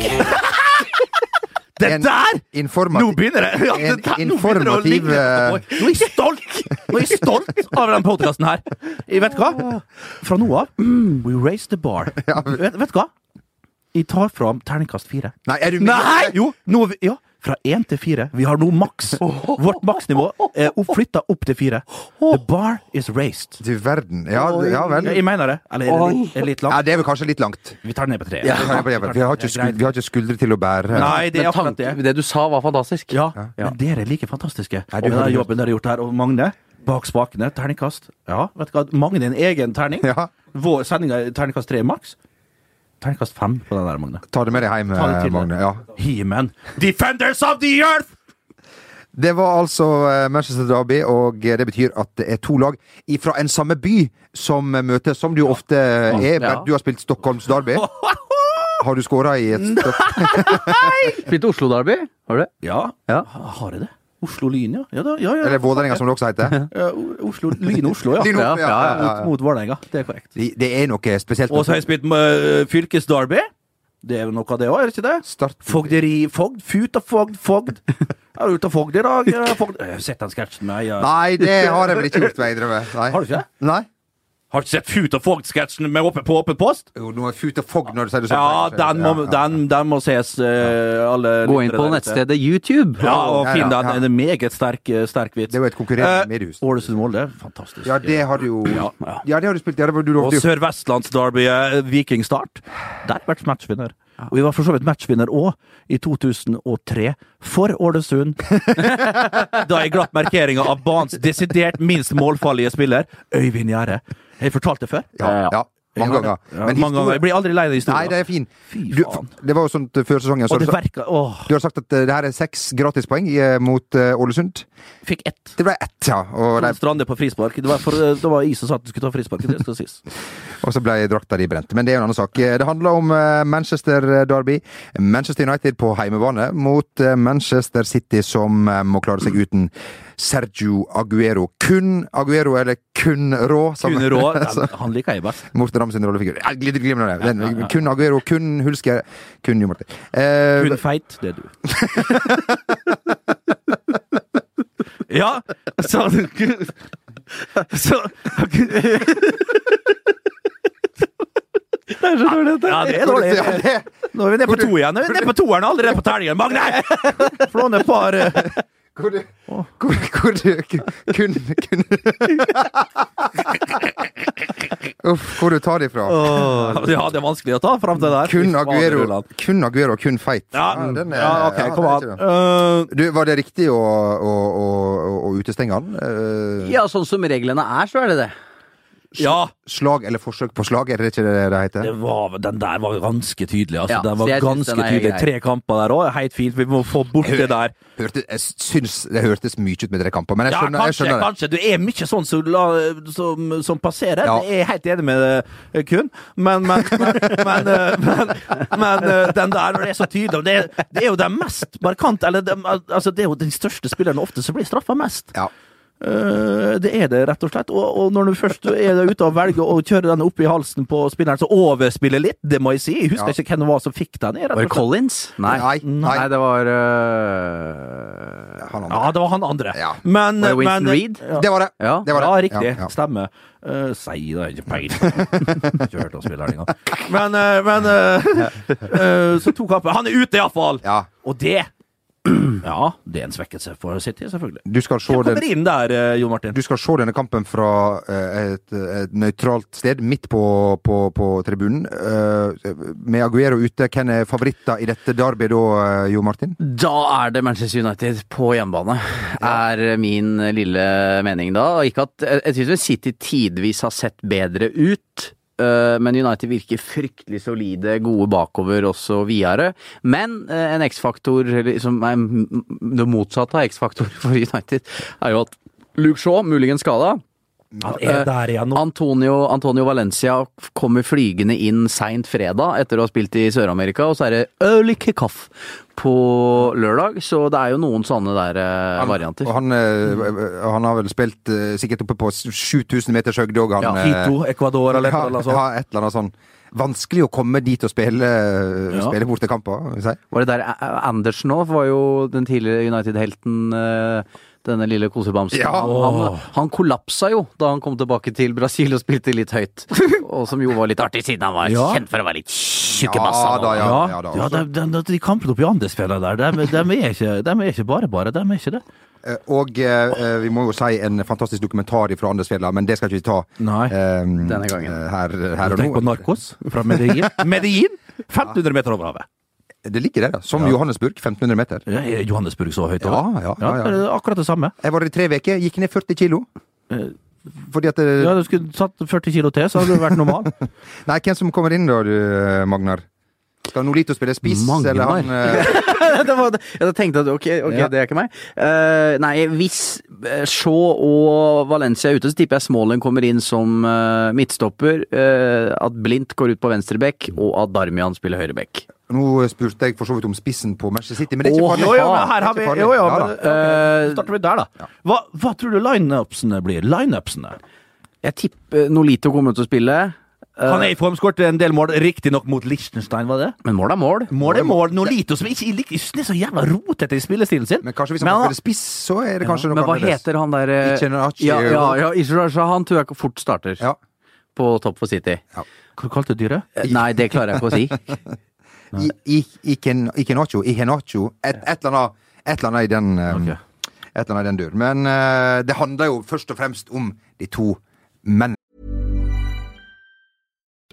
[SPEAKER 3] Det
[SPEAKER 2] En
[SPEAKER 3] der! Nå
[SPEAKER 2] Informativ
[SPEAKER 3] begynner det! Ja, det
[SPEAKER 2] en
[SPEAKER 3] der, nå begynner det å
[SPEAKER 2] informativ, eh,
[SPEAKER 3] ligne etterpå. Nå er jeg stolt Nå er jeg stolt av den podkasten her. Jeg vet hva? Fra nå av mm, We raise the bar. Vet, vet hva? Jeg tar fram terningkast fire.
[SPEAKER 2] Nei, er du
[SPEAKER 3] Nei! Jo, nå er vi, ja, fra én til fire. Vi har nå maks. Vårt maksnivå er opp- flytta opp til fire. The bar is raised.
[SPEAKER 2] Du verden. Ja, du- ja vel.
[SPEAKER 3] Ja, jeg mener det. Eller er det litt- er det litt
[SPEAKER 2] Ja,
[SPEAKER 3] langt?
[SPEAKER 2] det er vel kanskje litt langt.
[SPEAKER 3] Vi tar det ned på tre.
[SPEAKER 2] Ja, ja, ja, Vi har ikke skuldre, vi har ikke skuldre til å bære.
[SPEAKER 3] Nei, det er
[SPEAKER 1] Men
[SPEAKER 3] akkurat det.
[SPEAKER 1] tanken- det du sa var fantastisk.
[SPEAKER 3] Ja, men dere er like fantastiske.
[SPEAKER 2] Nei,
[SPEAKER 3] og
[SPEAKER 2] du
[SPEAKER 3] den
[SPEAKER 2] har
[SPEAKER 3] der
[SPEAKER 2] det.
[SPEAKER 3] jobben dere har gjort her, og Magne, bak spakene, terningkast. Ja, vet du hva, Magne er en egen terning.
[SPEAKER 2] Ja.
[SPEAKER 3] Vår sending er terningkast tre maks. Terningkast fem på den der, Magne.
[SPEAKER 2] Ta det med deg hjem, eh,
[SPEAKER 3] Ta det til deg.
[SPEAKER 2] Magne. Ja.
[SPEAKER 3] He-Man. Defenders of the Earth!
[SPEAKER 2] Det var altså eh, Manchester Derby, og eh, det betyr at det er to lag fra en samme by som eh, møtes, som du jo ofte er.
[SPEAKER 1] Ja.
[SPEAKER 2] Du har spilt Stockholms Derby. Har du skåra i et Stock-
[SPEAKER 1] Spilte Oslo Derby, har du det?
[SPEAKER 3] Ja.
[SPEAKER 1] Ja.
[SPEAKER 3] Ha- Har jeg det? Oslo Lyn, ja. ja, da, ja, ja.
[SPEAKER 2] Eller Vålerenga, som det også heter.
[SPEAKER 3] Ja, Eh, O- Oslo, Lyn Oslo, ja.
[SPEAKER 2] Lyn Oslo, ja, ja, ja, ja.
[SPEAKER 3] Mot, mot Vålerenga. Det er korrekt.
[SPEAKER 2] Det det er noe spesielt.
[SPEAKER 3] Og så har jeg spilt med fylkesderby. Det er jo noe av det òg, er det ikke det?
[SPEAKER 2] Start
[SPEAKER 3] Fogderi, fogd, fut og fogd, fogd. Jeg er ute av fogd i dag. jeg er Fogd. Jeg har sett den sketsjen med Eia.
[SPEAKER 2] Nei, det har jeg vel ikke gjort, må jeg innrømme. Nei.
[SPEAKER 3] Har du ikke det?
[SPEAKER 2] Nei?
[SPEAKER 3] Har du ikke sett fut og fogd-sketsjen med åpen på åpen post?
[SPEAKER 2] Jo, nå er fut og fogg når du sier det sånn.
[SPEAKER 3] Ja, den må,
[SPEAKER 2] Ja, ja.
[SPEAKER 3] den, den må ses, eh, alle
[SPEAKER 1] Gå inn
[SPEAKER 3] lyttere
[SPEAKER 1] på
[SPEAKER 3] der ute.
[SPEAKER 1] nettstedet YouTube.
[SPEAKER 3] Ja, og
[SPEAKER 2] Ja, ja,
[SPEAKER 3] finn den.
[SPEAKER 2] ja.
[SPEAKER 3] En meget sterk, eh, sterk vits.
[SPEAKER 2] Det er jo et konkurrerende
[SPEAKER 3] Eh,
[SPEAKER 2] mediehus.
[SPEAKER 3] Ålesund-Molde, fantastisk.
[SPEAKER 2] Ja, det har du jo
[SPEAKER 3] Ja, ja.
[SPEAKER 2] Ja, det har du spilt. Ja, det var du
[SPEAKER 3] Og
[SPEAKER 2] lovte jo.
[SPEAKER 3] Sør-Vestlandsderbyet Vikingstart. Der har jeg vært matchvinner. Og vi var for så vidt matchvinner òg, i 2003, for Ålesund. da jeg glapp markeringa av banens desidert minst målfarlige spiller, Øyvind Gjerde. Har jeg fortalt det før?
[SPEAKER 2] Ja, ja. Mange ganger.
[SPEAKER 3] Ja, mange ganger. Jeg blir aldri lei av
[SPEAKER 2] Nei,
[SPEAKER 3] historien.
[SPEAKER 2] det er fin.
[SPEAKER 3] Fy
[SPEAKER 2] Du,
[SPEAKER 3] faen.
[SPEAKER 2] det var jo sånn til før sesongen. Så
[SPEAKER 3] Og
[SPEAKER 2] du,
[SPEAKER 3] det
[SPEAKER 2] sa-
[SPEAKER 3] verka Åh.
[SPEAKER 2] du har sagt at eh, det her er seks gratispoeng eh, mot eh, Ålesund.
[SPEAKER 3] Fikk ett.
[SPEAKER 2] Det ble ett, ja. Og,
[SPEAKER 3] Trond
[SPEAKER 2] de,
[SPEAKER 3] Strande på frispark. Det var, for, det var jeg som sa at du skulle ta frispark. Det skal sies.
[SPEAKER 2] og så ble drakta di brent. Men det er jo en annen sak. Eh, Det handler om eh, Manchester Derby. Manchester United på heimebane mot eh, Manchester City, som eh, må klare seg uten Sergio Aguero. Kun Aguero, eller kun Rå, som Altså,
[SPEAKER 3] Kunne rå. Den- Han liker jeg best.
[SPEAKER 2] Morten Ramm sin rollefigur. Ja, glitter- glimrende. Den, Kun Aguero, kun Hulsker, kun Jo Martin. Eh,
[SPEAKER 3] Hun feit, det er du. ja, så Så
[SPEAKER 1] Det er så dårlig, dette.
[SPEAKER 3] Ja, det er dårlig.
[SPEAKER 2] Ja, det-
[SPEAKER 3] Nå er vi nede på to igjen. Nå er vi nede på toeren allerede på tellingen. Magne! Flåne et par eh,
[SPEAKER 2] Hvor du Hvor, hvor du kun, kun Uff, hvor du tar det fra.
[SPEAKER 3] Ja, det er vanskelig å ta fram til det der.
[SPEAKER 2] Kun
[SPEAKER 3] Fy faen,
[SPEAKER 2] Aguero,
[SPEAKER 3] Ruland.
[SPEAKER 2] kun Aguero, kun feit.
[SPEAKER 3] Ja,
[SPEAKER 2] den er-
[SPEAKER 3] ja, OK,
[SPEAKER 2] ja, den
[SPEAKER 3] kom
[SPEAKER 2] er
[SPEAKER 3] an.
[SPEAKER 2] ikke det.
[SPEAKER 3] Eh,
[SPEAKER 2] Du, var det riktig å, å, å, å- å utestenge han? Eh,
[SPEAKER 1] Ja, sånn som reglene er, så er det det.
[SPEAKER 3] ja,
[SPEAKER 2] Slag eller forsøk på slag, er det ikke det det heter?
[SPEAKER 3] det var, den der var ganske tydelig. Altså,
[SPEAKER 1] Ja,
[SPEAKER 3] den
[SPEAKER 1] så
[SPEAKER 3] var
[SPEAKER 1] jeg synes
[SPEAKER 3] ganske
[SPEAKER 1] den er
[SPEAKER 3] tydelig.
[SPEAKER 1] grei.
[SPEAKER 3] Tre kamper der òg, helt fint. Vi må få bort det der.
[SPEAKER 2] Hørte, jeg syns det hørtes mye ut med tre kamper, men jeg
[SPEAKER 3] Ja,
[SPEAKER 2] skjønner, jeg
[SPEAKER 3] kanskje,
[SPEAKER 2] skjønner det.
[SPEAKER 3] kanskje. Du er mye sånn som, la- som, som passerer.
[SPEAKER 2] Ja.
[SPEAKER 3] Jeg er helt enig med eh, Kun, men men, men, men, eh, men, men eh, den der, når det er så tydelig og det, er- det er jo den mest markante Eller den- al- altså, det er jo den største spilleren ofte som blir straffa mest.
[SPEAKER 2] Ja.
[SPEAKER 3] Eh, det er det, rett og slett. Og, og når du først er der ute og velger å kjøre den opp i halsen på spilleren, så overspiller litt, det må jeg si. Jeg husker
[SPEAKER 2] Ja.
[SPEAKER 3] ikke hvem det var som fikk den. jeg, Rett
[SPEAKER 1] Var det
[SPEAKER 3] og slett.
[SPEAKER 1] Collins?
[SPEAKER 2] Nei, nei.
[SPEAKER 1] det var øh,
[SPEAKER 2] Han andre.
[SPEAKER 3] Ja, det var han andre.
[SPEAKER 2] Ja.
[SPEAKER 3] Men,
[SPEAKER 1] Var det Winston
[SPEAKER 3] men-
[SPEAKER 1] Reed?
[SPEAKER 3] Ja.
[SPEAKER 2] Det var det.
[SPEAKER 1] Ja.
[SPEAKER 2] det var det.
[SPEAKER 3] Ja, riktig.
[SPEAKER 2] Ja, ja.
[SPEAKER 3] Stemmer. Uh, si det, ikke peil. Ikke hørt om spilleren engang. Men, eh, men eh, eh, Så to kamper. Han er ute, iallfall!
[SPEAKER 2] Ja.
[SPEAKER 3] Og det Ja, det er en svekkelse for City, selvfølgelig.
[SPEAKER 2] Du skal se
[SPEAKER 3] Hvem
[SPEAKER 2] den
[SPEAKER 3] kommer inn der, eh, Jo Martin?
[SPEAKER 2] du skal se denne kampen fra eh, et, et nøytralt sted, midt på, på, på tribunen. Eh, Med Aguero ute, hvem er favoritter i dette derby da, eh, Jo Martin?
[SPEAKER 1] Da er det Manchester United på hjemmebane, er øh, min lille mening da. Og ikke at øh, Jeg syns vel City tidvis har sett bedre ut, øh, men United virker fryktelig solide, gode bakover også videre. Men øh, en X-faktor, eller som er m- det motsatte av X-faktor for United, er jo at Luke Shaw, muligens skada,
[SPEAKER 6] Han er der igjen nå.
[SPEAKER 1] Antonio, Antonio Valencia kommer flygende inn seint fredag etter å ha spilt i Sør-Amerika, og så er det early kickoff på lørdag. Så det er jo noen sånne der eh, varianter.
[SPEAKER 2] Og han, eh, han har vel spilt eh, sikkert oppe på 7000 meters høyde òg, han.
[SPEAKER 1] Ja,
[SPEAKER 2] eh,
[SPEAKER 3] Quito, Ecuador eller altså.
[SPEAKER 2] ja, ja,
[SPEAKER 3] et eller annet sånt.
[SPEAKER 2] et eller annet sånn. Vanskelig å komme dit og spille, eh,
[SPEAKER 1] Ja.
[SPEAKER 2] spille bortekamper, vil jeg si.
[SPEAKER 1] Var det der A- A- Andersen òg? Var jo den tidligere United-helten. eh, Denne lille kosebamsen.
[SPEAKER 2] Ja.
[SPEAKER 1] Han, han, han kollapsa jo da han kom tilbake til Brasil og spilte litt høyt. Og som jo var litt artig, siden han var
[SPEAKER 3] Ja.
[SPEAKER 1] kjent for å være litt tjukke
[SPEAKER 2] Ja
[SPEAKER 1] bassan.
[SPEAKER 2] da, ja,
[SPEAKER 3] Ja,
[SPEAKER 2] ja da.
[SPEAKER 3] ja de, de, de, de kampene oppe i Andesfjellet der, de, de, er ikke, de er ikke bare bare. De er ikke det.
[SPEAKER 2] Eh, Og eh, eh, vi må jo si en fantastisk dokumentar fra Andesfjella, men det skal ikke vi ta
[SPEAKER 3] Nei.
[SPEAKER 2] eh,
[SPEAKER 1] Denne gangen.
[SPEAKER 2] eh, her, her og
[SPEAKER 3] Tenk på
[SPEAKER 2] nå.
[SPEAKER 3] Narkos fra Medellin. Medellin! 1500 meter over havet.
[SPEAKER 2] Det ligger der, da. Som Johannesburg, 1500 meter.
[SPEAKER 3] Ja, er Johannesburg så høyt
[SPEAKER 2] Ja,
[SPEAKER 3] over?
[SPEAKER 2] ja, ja, ja.
[SPEAKER 3] det er Akkurat det samme.
[SPEAKER 2] Jeg var der i tre uker, gikk ned 40 kilo.
[SPEAKER 3] Eh,
[SPEAKER 2] Fordi at eh,
[SPEAKER 3] Ja, Du skulle tatt 40 kilo til, så hadde du vært normal.
[SPEAKER 2] Nei, hvem som kommer inn da, du, eh, Magnar? Skal Nolito spille spiss,
[SPEAKER 1] Magnar?
[SPEAKER 2] eller han eh,
[SPEAKER 1] det var, det- jeg tenkte at ok, ok,
[SPEAKER 3] Ja.
[SPEAKER 1] det er ikke meg. Eh, nei, hvis eh, Shaw og Valencia er ute, så tipper jeg Smalling kommer inn som eh, midtstopper. eh, at Blindt går ut på venstrebekk, og at Darmian spiller høyrebekk.
[SPEAKER 2] Nå spurte jeg for så vidt om spissen på Manchester City, men det er ikke
[SPEAKER 1] Åh,
[SPEAKER 2] farlig.
[SPEAKER 3] Jo, jo, men her har
[SPEAKER 2] Det
[SPEAKER 3] vi
[SPEAKER 2] er ikke
[SPEAKER 3] Jo,
[SPEAKER 2] farlig.
[SPEAKER 3] jo,
[SPEAKER 2] Ja,
[SPEAKER 3] men,
[SPEAKER 2] da.
[SPEAKER 1] Eh,
[SPEAKER 3] ok, så starter vi der, da. Hva, hva tror du lineupsene blir? Lineupsene?
[SPEAKER 1] Jeg tipper Nolito kommer til å spille. eh,
[SPEAKER 3] Han er i form, skåret en del mål, riktignok mot Liechtenstein, var det?
[SPEAKER 1] men mål er mål.
[SPEAKER 3] Mål er mål. Nolito, som ikke jeg liker, jeg er så jævla rotete i spillestilen sin.
[SPEAKER 2] Men kanskje hvis han spiller spiss, så er det kanskje
[SPEAKER 1] Men
[SPEAKER 2] noe
[SPEAKER 1] hva heter han der eh,
[SPEAKER 2] Iheanacho.
[SPEAKER 1] Ja, ja, ja Iheanacho, han tror jeg ikke fort starter
[SPEAKER 2] Ja.
[SPEAKER 1] på topp for City.
[SPEAKER 3] Hva kalte du dyret?
[SPEAKER 1] Eh, Nei, det klarer jeg ikke å si.
[SPEAKER 2] I- i- Iken- Ikenacho, Ihenacho, et, et, eller annet, et eller annet i den eh,
[SPEAKER 3] Ok.
[SPEAKER 2] Et eller annet i den dur. Men eh, det handler jo først og fremst om de to mennene.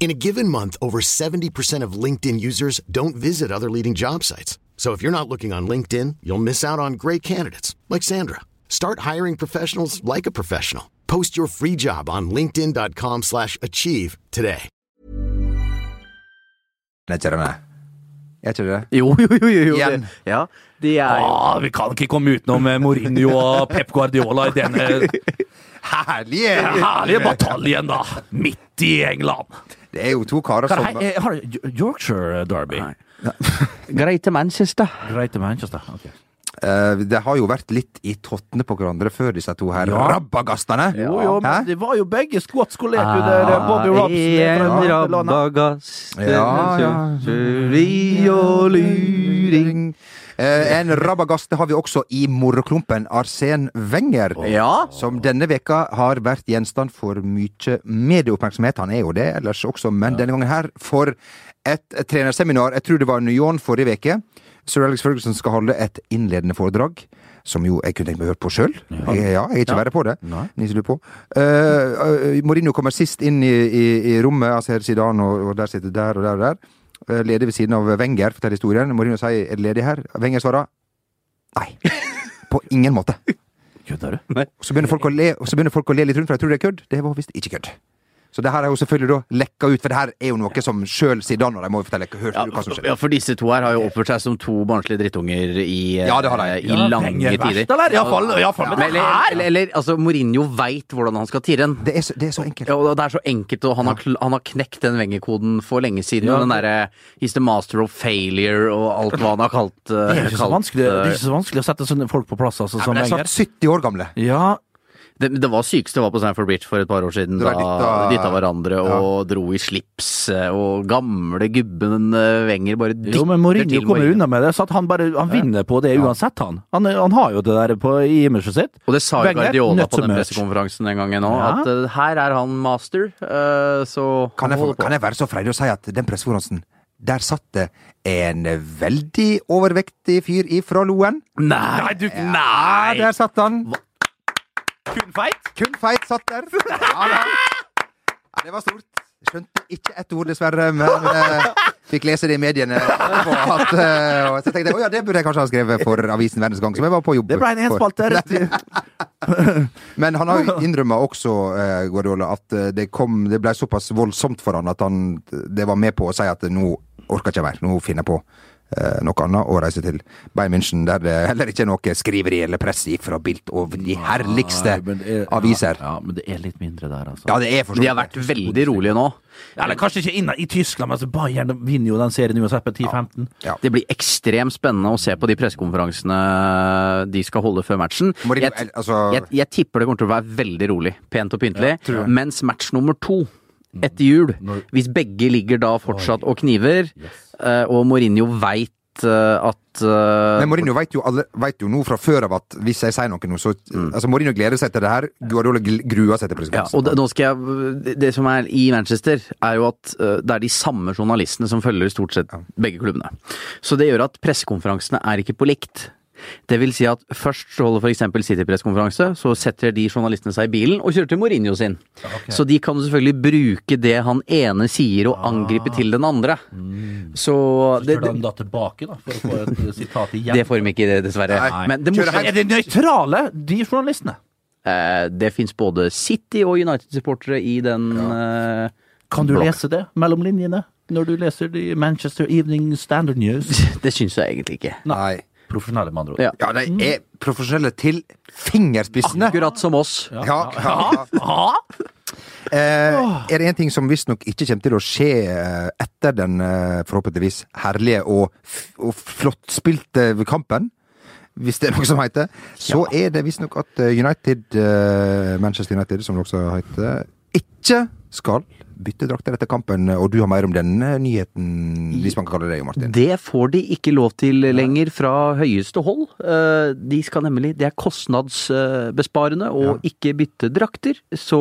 [SPEAKER 7] In a given month, over 70% of LinkedIn users don't visit other leading job sites. So if you're not looking on LinkedIn, you'll miss out on great candidates like Sandra. Start hiring professionals like a professional. Post your free job on linkedin.com/achieve slash achieve today.
[SPEAKER 2] Er ikke det, nei? Er ikke det?
[SPEAKER 1] Jo, jo, jo. jo, jo.
[SPEAKER 2] Igjen.
[SPEAKER 1] det- Ja, de er jo
[SPEAKER 3] Ah, vi kan ikke komme utenom eh, Mourinho og Pep Guardiola i den eh,
[SPEAKER 2] Herlige!
[SPEAKER 3] herlige bataljen, da! Midt i England.
[SPEAKER 2] Det er jo to karer
[SPEAKER 3] Hva,
[SPEAKER 2] som
[SPEAKER 3] hei, eh, har du Y- Yorkshire eh, Derby?
[SPEAKER 1] Nei. Greit til Manchester.
[SPEAKER 3] Greite Manchester. ok.
[SPEAKER 2] eh, Det har jo vært litt i tottene på hverandre før disse to her
[SPEAKER 3] Ja.
[SPEAKER 2] rabagastene.
[SPEAKER 3] Jo, jo,
[SPEAKER 2] Hæ?
[SPEAKER 3] men de var jo begge skottskolert under eh, Bobby Robson. eh, fra Nederland.
[SPEAKER 2] Ja, ja.
[SPEAKER 1] Tjuveri og luring
[SPEAKER 2] Eh, en rabagast det har vi også i moroklumpen. Arsen Wenger.
[SPEAKER 1] Ja.
[SPEAKER 2] Som denne veka har vært gjenstand for mye medieoppmerksomhet. Han er jo det ellers også, men denne gangen her for et, et trenerseminar. Jeg tror det var New York forrige veke. Sir Alex Ferguson skal holde et innledende foredrag, som jo jeg kunne tenkt meg å høre på sjøl. Ja. Jeg, ja, jeg er ikke verre på det. Niser du på? Eh, eh, Mourinho kommer sist inn i, i, i rommet. Altså her Zidane, og, og der sitter der og der og der. Eh, Ledig ved siden av Wenger forteller historien. Mourinho sier 'er det ledig her?' Wenger svarer nei. På ingen måte.
[SPEAKER 3] Kødder du?
[SPEAKER 2] Og så begynner folk å le, og så begynner folk å le litt rundt, for jeg tror det er kødd. Det var visst ikke kødd. Så det her er jo selvfølgelig da lekka ut, for det her er jo noe som sjøl Zidane og de må jo fortelle. Hørte du hva som skjedde?
[SPEAKER 1] Ja, altså, for disse to her har jo oppført seg som to barnslige drittunger i, eh,
[SPEAKER 2] Ja, det har de.
[SPEAKER 1] i lange
[SPEAKER 3] Wenger verst,
[SPEAKER 1] tider.
[SPEAKER 3] eller? Iallfall, iallfall.
[SPEAKER 1] Men,
[SPEAKER 3] Men det
[SPEAKER 1] eller, eller, eller altså, Mourinho veit hvordan han skal tirre den.
[SPEAKER 2] Det er så, det er så enkelt.
[SPEAKER 1] Ja, og det er så enkelt, og han har, kl- han har knekt den Wenger-koden for lenge siden. og Den derre 'He's the master of failure' og alt hva han har kalt, eh,
[SPEAKER 3] er ikke så
[SPEAKER 1] kalt,
[SPEAKER 3] vanskelig, det er
[SPEAKER 1] eh,
[SPEAKER 3] ikke så vanskelig å sette sånne folk på plass, altså, som
[SPEAKER 2] Men det er
[SPEAKER 3] Wenger.
[SPEAKER 2] snart 70 år gamle.
[SPEAKER 3] Ja,
[SPEAKER 1] Det, det var sykeste var på Sanford Bridge for et par år siden.
[SPEAKER 2] Det var
[SPEAKER 1] Da
[SPEAKER 2] dytta-
[SPEAKER 1] dytta hverandre og dro i slips, eh, og gamle gubben eh, Wenger bare dytter
[SPEAKER 3] jo, men Mourinho
[SPEAKER 1] til
[SPEAKER 3] kommer
[SPEAKER 1] Mourinho.
[SPEAKER 3] unna med det, så at han bare han vinner på det uansett, han. Han, han har jo det der på, i imaget sitt.
[SPEAKER 1] Og det sa jo
[SPEAKER 3] Wenger,
[SPEAKER 1] Guardiola på
[SPEAKER 3] nødt til
[SPEAKER 1] den
[SPEAKER 3] merch.
[SPEAKER 1] pressekonferansen den gangen òg,
[SPEAKER 3] Ja.
[SPEAKER 1] at eh, her er han master, eh, så
[SPEAKER 2] Kan
[SPEAKER 1] han
[SPEAKER 2] jeg, få-
[SPEAKER 1] holder på.
[SPEAKER 2] kan jeg være så freidig å si at den pressekonferansen, der satt det en veldig overvektig fyr ifra Loen.
[SPEAKER 1] Nei!
[SPEAKER 3] du
[SPEAKER 2] Ja, der satt han.
[SPEAKER 3] Kun feit?
[SPEAKER 2] Kun feit satt der. Ja, da. Ja, det var stort. Skjønte ikke ett ord, dessverre, men eh, fikk lese det i mediene. etterpå At, eh, og så tenkte jeg å ja, det burde jeg kanskje ha skrevet for avisen Verdens Gang, som jeg var på jobb
[SPEAKER 3] Det ble en
[SPEAKER 2] for.
[SPEAKER 3] enspalte rett.
[SPEAKER 2] Men han har jo innrømma også, eh, Guardiola, at eh, det, kom, det ble såpass voldsomt for han at han det var med på å si at nå orker jeg ikke mer, nå finner jeg på eh, noe annet å reise til Bayern München, der det heller ikke er noe skriveri eller press ifra bilt over de herligste aviser.
[SPEAKER 3] Ja, men det er litt mindre der, altså.
[SPEAKER 2] Ja, det er for så
[SPEAKER 1] De har
[SPEAKER 2] vidt
[SPEAKER 1] vært veldig rolige nå.
[SPEAKER 3] Eller kanskje ikke inn i Tyskland, men altså, Bayern vinner jo den serien uansett på 10-15.
[SPEAKER 1] Det blir ekstremt spennende å se på de pressekonferansene eh, de skal holde før matchen.
[SPEAKER 2] Må de-
[SPEAKER 1] Jeg,
[SPEAKER 2] el- altså-
[SPEAKER 1] jeg, jeg tipper det kommer til å være veldig rolig, pent og pyntelig. mens match nummer to
[SPEAKER 2] Mm.
[SPEAKER 1] etter jul, hvis begge ligger da fortsatt og kniver, eh, og Mourinho veit at eh,
[SPEAKER 2] Men Mourinho vet jo, alle, vet jo nå fra før av at hvis jeg sier noe nå, så altså Mourinho gleder seg til det her, Guardiola gl- gruer seg til
[SPEAKER 1] Mm. ja, og det,
[SPEAKER 2] pressekonferansen.
[SPEAKER 1] nå skal jeg, det- det som er i Manchester, er jo at eh, det er de samme journalistene som følger stort sett begge klubbene. Så det gjør at pressekonferansene er ikke på likt. Det vil si at først så holder f.eks. City pressekonferanse, så setter de journalistene seg i bilen og kjører til Mourinho sin. Så de kan jo selvfølgelig bruke det han ene sier og angripe til den andre. Så det, det,
[SPEAKER 3] da tilbake, da, for å få et eh, sitat igjen.
[SPEAKER 1] det får de ikke, dessverre.
[SPEAKER 2] Nei.
[SPEAKER 1] Men det
[SPEAKER 2] Kjører
[SPEAKER 1] morsomme
[SPEAKER 2] helt-
[SPEAKER 3] Er det nøytrale, de journalistene?
[SPEAKER 1] eh, Det fins både City og United-supportere i den eh,
[SPEAKER 3] Kan du
[SPEAKER 1] Blokk.
[SPEAKER 3] lese det mellom linjene når du leser de Manchester Evening Standard News?
[SPEAKER 1] Det syns jeg egentlig ikke.
[SPEAKER 2] Nei.
[SPEAKER 3] Profesjonelle, med andre ord.
[SPEAKER 1] Ja.
[SPEAKER 2] Ja, de er profesjonelle til fingerspissene.
[SPEAKER 1] Akkurat som oss.
[SPEAKER 2] Ja, ja, ja.
[SPEAKER 3] Ah,
[SPEAKER 2] Eh, er det en ting som visstnok ikke kommer til å skje eh, etter den eh, forhåpentligvis herlige og, f og flott spilte kampen, hvis det er noe som heter, så er det visstnok at eh, United, eh, Manchester United, som det også heter, ikke skal bytte drakter etter kampen. Og du har mer om denne nyheten, hvis man kan kalle det det, Martin.
[SPEAKER 1] Det får de ikke lov til lenger fra høyeste hold. Eh, De skal nemlig, Det er kostnadsbesparende å ikke bytte drakter, så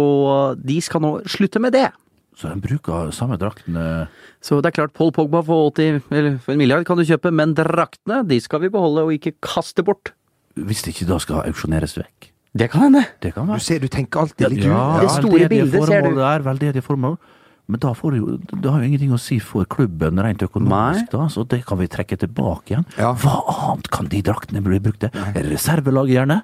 [SPEAKER 1] de skal nå slutte med det.
[SPEAKER 3] Så de bruker samme drakten eh,
[SPEAKER 1] Så det er klart, Paul Pogba for 80, eller for en milliard kan du kjøpe, men draktene de skal vi beholde og ikke kaste bort.
[SPEAKER 3] Hvis det ikke da skal auksjoneres vekk.
[SPEAKER 1] Det kan hende.
[SPEAKER 3] Det kan
[SPEAKER 2] Du
[SPEAKER 3] være.
[SPEAKER 2] ser, du tenker alltid litt ut.
[SPEAKER 1] det store
[SPEAKER 3] veldedige
[SPEAKER 1] bildet ser du.
[SPEAKER 3] formål Der, veldedige formål. Men da får det jo, det har jo ingenting å si for klubben rent
[SPEAKER 1] Nei. Ah.
[SPEAKER 3] økonomisk, da, så det kan vi trekke tilbake igjen.
[SPEAKER 2] Ja.
[SPEAKER 3] Hva annet kan de draktene bli brukt til? Reservelaget, gjerne?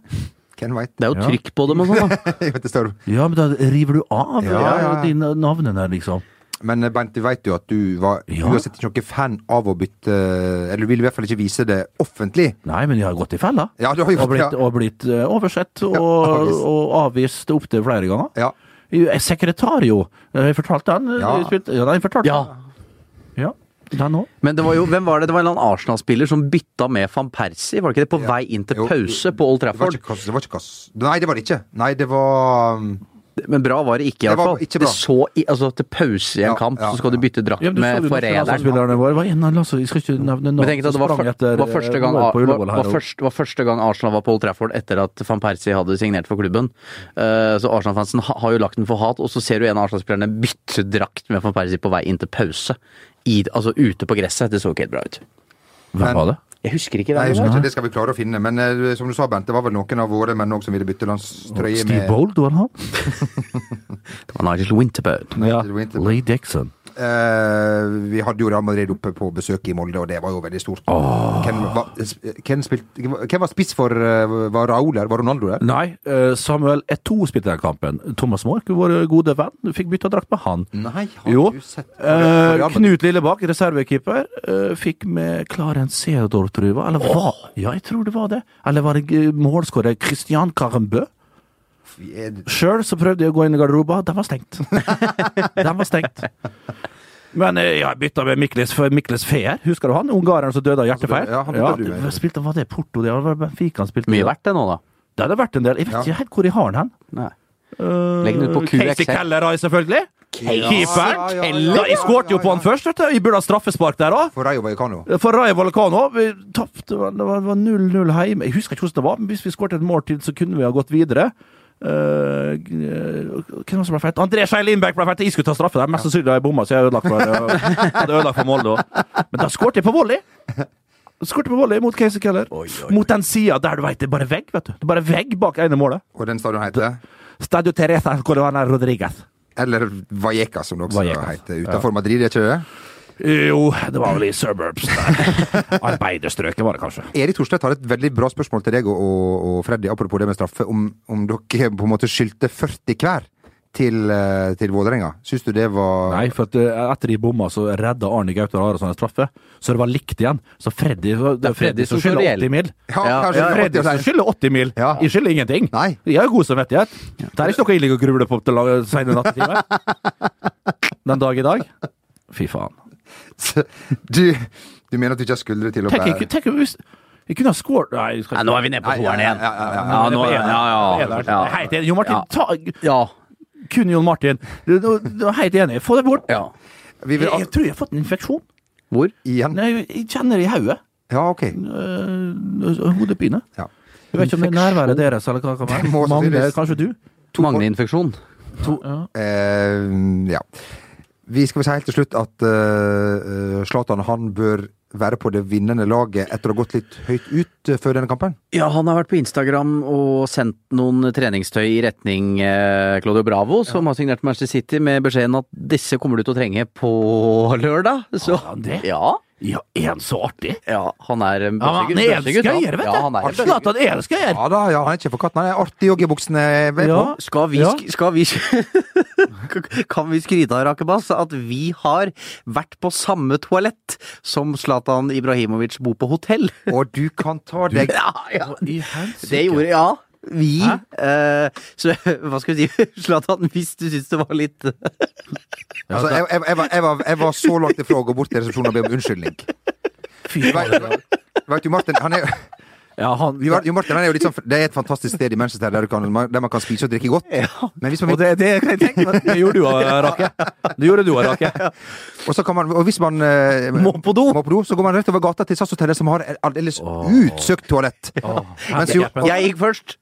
[SPEAKER 2] Hvem veit?
[SPEAKER 1] Det er jo
[SPEAKER 3] Ja.
[SPEAKER 1] trykk på dem og sånn, da.
[SPEAKER 2] Jeg vet det står
[SPEAKER 3] Ja, men da river du av eh,
[SPEAKER 2] Ja, ja, ja.
[SPEAKER 3] de navnene, liksom.
[SPEAKER 2] Men eh, Bent, du vet jo at du var
[SPEAKER 3] Ja.
[SPEAKER 2] uansett ikke noen fan av å bytte eh, Eller du vil i hvert fall ikke vise det offentlig.
[SPEAKER 3] Nei, men de har gått i fella.
[SPEAKER 2] Ja, du har
[SPEAKER 3] og
[SPEAKER 2] gjort
[SPEAKER 3] blitt,
[SPEAKER 2] det.
[SPEAKER 3] og blitt eh, oversett og,
[SPEAKER 2] avvist.
[SPEAKER 3] og avvist opptil flere ganger.
[SPEAKER 2] Ja.
[SPEAKER 3] Jo, eh, Sekretar, jo. Har jeg fortalt den?
[SPEAKER 2] Ja.
[SPEAKER 3] Jeg spilte- eh, ja, den har jeg fortalt.
[SPEAKER 1] Ja.
[SPEAKER 3] ja. Den òg.
[SPEAKER 1] Men det var jo, hvem var det? Det var en eller annen Arsenal-spiller som bytta med van Persie, var det ikke det? På vei inn til
[SPEAKER 2] Jo.
[SPEAKER 1] pause på Old
[SPEAKER 2] Det var
[SPEAKER 1] Trafford.
[SPEAKER 2] ikke Kass. Det var ikke Kass. Nei, det var det ikke. Nei, det var um,
[SPEAKER 1] Men bra var det ikke,
[SPEAKER 2] Det var
[SPEAKER 1] iallfall.
[SPEAKER 2] ikke
[SPEAKER 1] Det,
[SPEAKER 2] bra.
[SPEAKER 1] det så i, altså, til pause i en
[SPEAKER 2] Ja,
[SPEAKER 1] kamp,
[SPEAKER 2] ja,
[SPEAKER 1] så skal du bytte drakt
[SPEAKER 3] Ja, men du så
[SPEAKER 1] med
[SPEAKER 3] jo
[SPEAKER 1] forræderen.
[SPEAKER 3] landslagsspillerne våre. Hva er en av landslag- Jeg skal ikke nevne
[SPEAKER 1] Men
[SPEAKER 3] navn
[SPEAKER 1] tenk deg at
[SPEAKER 3] som
[SPEAKER 1] det var,
[SPEAKER 3] sprang
[SPEAKER 1] fyr-
[SPEAKER 3] etter eh,
[SPEAKER 1] var, første gang,
[SPEAKER 3] mål
[SPEAKER 1] var,
[SPEAKER 3] på
[SPEAKER 1] var,
[SPEAKER 3] Ullevål her også.
[SPEAKER 1] først, var første gang Arsenal var på Old Trafford etter at van Persie hadde signert for klubben. Eh, så Arsenal-fansen ha, har jo lagt den for hat, og så ser du en av Arsenal-spillerne bytte drakt med van Persie på vei inn til pause. I, altså ute på gresset. Det så ikke helt bra ut.
[SPEAKER 2] Men-
[SPEAKER 3] Hvem var det?
[SPEAKER 1] Jeg husker ikke
[SPEAKER 2] Nei,
[SPEAKER 1] det.
[SPEAKER 2] jeg husker ikke, det skal vi klare å finne. Men eh, som du sa, Bent, det var vel noen av våre menn òg som ville bytte landstrøye
[SPEAKER 3] Steve
[SPEAKER 2] med
[SPEAKER 3] Bold, var det han?
[SPEAKER 1] Nigel Winterbourne.
[SPEAKER 2] Ja.
[SPEAKER 3] Lee Dixon.
[SPEAKER 2] Eh, vi hadde jo Real Madrid oppe på besøk i Molde, og det var jo veldig stort. Hvem, var, hvem, spilte- hvem var spiss for eh, Var Raúl der? Var Ronaldo der?
[SPEAKER 3] Nei, eh, Samuel Eto'o spilte den kampen. Thomas Mork, vår gode venn, fikk bytta drakt med han.
[SPEAKER 1] Mm.
[SPEAKER 2] Nei, har
[SPEAKER 3] Jo.
[SPEAKER 2] du sett
[SPEAKER 3] Eh,
[SPEAKER 2] Real Madrid-
[SPEAKER 3] Knut Lillebakk, reservekeeper, eh, fikk med Clarence Seedorf, tror jeg. det var. Eller hva? Ja, jeg tror det var det. Eller var det eh, målskårer Christian Carambø? Sjøl så prøvde jeg å gå inn i garderoba, den var stengt. den var stengt. Men eh, ja, jeg bytta med Mikles, for Mikles Feer, husker du han? Ungareren som døde av hjertefeil?
[SPEAKER 2] Ja, han døde jo.
[SPEAKER 3] hva spilte, var det Porto? Det var Benfica han spilte
[SPEAKER 1] Mye verdt det nå, da.
[SPEAKER 3] Det hadde vært en del. Jeg vet
[SPEAKER 2] Ja.
[SPEAKER 3] ikke helt hvor jeg har den hen.
[SPEAKER 1] Nei.
[SPEAKER 3] Eh,
[SPEAKER 1] Legg den ut på
[SPEAKER 3] Casey
[SPEAKER 1] QXL.
[SPEAKER 3] Keller har jeg selvfølgelig. Keeperen.
[SPEAKER 2] Ja, ja, ja, ja,
[SPEAKER 3] Keller. Jeg skåret jo på han først, vet du. Jeg burde ha straffespark der òg.
[SPEAKER 2] For Rayo Vallecano.
[SPEAKER 3] For Raja Vallecano vi tapte, det var- det var det var 0-0 hjemme. Jeg husker ikke hvordan det var, men hvis vi skåret et mål til, så kunne vi ha gått videre. Eh, hvem var det som ble feit? André Skei Lindbekk ble feit! Jeg skulle ta straffe der, mest sannsynlig har jeg bomma, så jeg har ødelagt for, jeg hadde ødelagt for Molde også. Men da skåret jeg på volley! Skåret på volley mot Casey Keller. Mot den sida der du veit det er bare vegg, vet du. Det er bare vegg bak ene målet.
[SPEAKER 2] Og den stadion heter
[SPEAKER 3] Stadio Teresa Corona Rodriguez.
[SPEAKER 2] Eller Vallecas, som det også
[SPEAKER 3] Vallecas.
[SPEAKER 2] heter. Utenfor Madrid, er ikke det?
[SPEAKER 3] Jo, det var vel i suburbs der. Arbeiderstrøket var det kanskje.
[SPEAKER 2] Erik Thorstvedt har et veldig bra spørsmål til deg og, og, og Freddy, apropos det med straffe. Om, om dere på en måte skyldte 40 hver til, eh, til Vålerenga. Syns du det var
[SPEAKER 3] Nei, for at eh, etter de bomma, så redda Arne Gautar Arason en straffe. Så det var likt igjen. Så Freddy Det er Freddy som
[SPEAKER 1] står
[SPEAKER 3] skylder
[SPEAKER 1] reell.
[SPEAKER 3] 80 mil.
[SPEAKER 2] Ja,
[SPEAKER 1] Ja,
[SPEAKER 2] kanskje
[SPEAKER 1] ja,
[SPEAKER 2] det var
[SPEAKER 3] Freddy
[SPEAKER 2] 80
[SPEAKER 3] som
[SPEAKER 2] og så-
[SPEAKER 3] skylder 80 mil.
[SPEAKER 2] Ja.
[SPEAKER 3] Jeg skylder ingenting.
[SPEAKER 2] Nei.
[SPEAKER 3] Jeg har god samvittighet. Det er ikke noe jeg ligger og grubler på til la- sene nattetimer. Den dag i dag. Fy faen.
[SPEAKER 2] Du, du mener at du ikke har skuldre til å
[SPEAKER 3] Tenk,
[SPEAKER 2] bære
[SPEAKER 3] jeg, tenk hvis jeg kunne ha scoret Nei, jeg skal
[SPEAKER 1] Nei,
[SPEAKER 3] ikke
[SPEAKER 1] nå er vi nede på
[SPEAKER 2] ja,
[SPEAKER 1] toeren
[SPEAKER 2] ja,
[SPEAKER 1] igjen.
[SPEAKER 2] ja, ja, ja.
[SPEAKER 1] Ja, nå- ja, ja, ja.
[SPEAKER 3] Hei, det er Jon Martin.
[SPEAKER 1] Ja.
[SPEAKER 3] Ta,
[SPEAKER 1] Ja.
[SPEAKER 3] kun Jon Martin. Du, du, du er helt enig. Få det bort.
[SPEAKER 1] ja.
[SPEAKER 2] Vi
[SPEAKER 3] Jeg,
[SPEAKER 2] vil
[SPEAKER 3] jeg
[SPEAKER 2] al-
[SPEAKER 3] tror jeg har fått en infeksjon.
[SPEAKER 1] Hvor?
[SPEAKER 2] igjen?
[SPEAKER 3] Nei, jeg- jeg kjenner det i hodet.
[SPEAKER 2] Ja, OK.
[SPEAKER 3] Øh, hodepine.
[SPEAKER 2] Ja.
[SPEAKER 3] Jeg vet ikke om det er nærværet deres eller hva det kan
[SPEAKER 2] Det må
[SPEAKER 3] være. Magne,
[SPEAKER 2] sannsynligvis-
[SPEAKER 3] kanskje du?
[SPEAKER 1] Magneinfeksjon.
[SPEAKER 3] Ja.
[SPEAKER 2] Eh, ja. Vi skal vel si helt til slutt at eh, eh, Zlatan han bør være på det vinnende laget etter å ha gått litt høyt ut eh, før denne kampen.
[SPEAKER 1] Ja, han har vært på Instagram og sendt noen treningstøy i retning eh, Claudio Bravo, som har signert Manchester City, med beskjeden at disse kommer du til å trenge på lørdag. Så,
[SPEAKER 3] Har han Ah, det?
[SPEAKER 1] Ja,
[SPEAKER 3] Ja, er han så artig?
[SPEAKER 1] ja, han er en
[SPEAKER 3] Ja, men han er elsker gøyer, vet du.
[SPEAKER 1] Ja, han er elsker.
[SPEAKER 3] Zlatan elsker gøyer.
[SPEAKER 2] Ja da, ja, han er ikke for katten. Han er artig òg i buksene. vet du.
[SPEAKER 3] Ja.
[SPEAKER 1] Skal vi,
[SPEAKER 3] Ja.
[SPEAKER 1] sk- skal vi Kan vi skryte av Rakebass at vi har vært på samme toalett som Zlatan Ibrahimovic bor på hotell?
[SPEAKER 2] Og du kan ta deg
[SPEAKER 1] Ja, ja.
[SPEAKER 3] I helsike.
[SPEAKER 1] Det gjorde ja. Vi eh, Så hva skal vi si, Zlatan, hvis du syns det var litt
[SPEAKER 2] Altså, jeg, jeg, jeg, var, jeg, var, jeg var så langt ifra å gå bort til resepsjonen og be om unnskyldning.
[SPEAKER 3] Fy
[SPEAKER 2] Vet,
[SPEAKER 3] faen.
[SPEAKER 2] vet du, Martin, han er,
[SPEAKER 3] Ja, han,
[SPEAKER 2] jo, jo, Martin, han er jo litt sånn, det er et fantastisk sted i Manchester der, du kan, der man kan spise og drikke godt. Men hvis man,
[SPEAKER 3] og det, det kan jeg tenke meg. Det gjorde du, Rake. Det gjorde du, Rake.
[SPEAKER 2] og, så kan man, og hvis man eh,
[SPEAKER 1] Må på do.
[SPEAKER 2] må på do, så går man rett over gata til SAS Hotellet, som har et aldeles utsøkt toalett. Mens jo, og,
[SPEAKER 1] Jeg gikk først.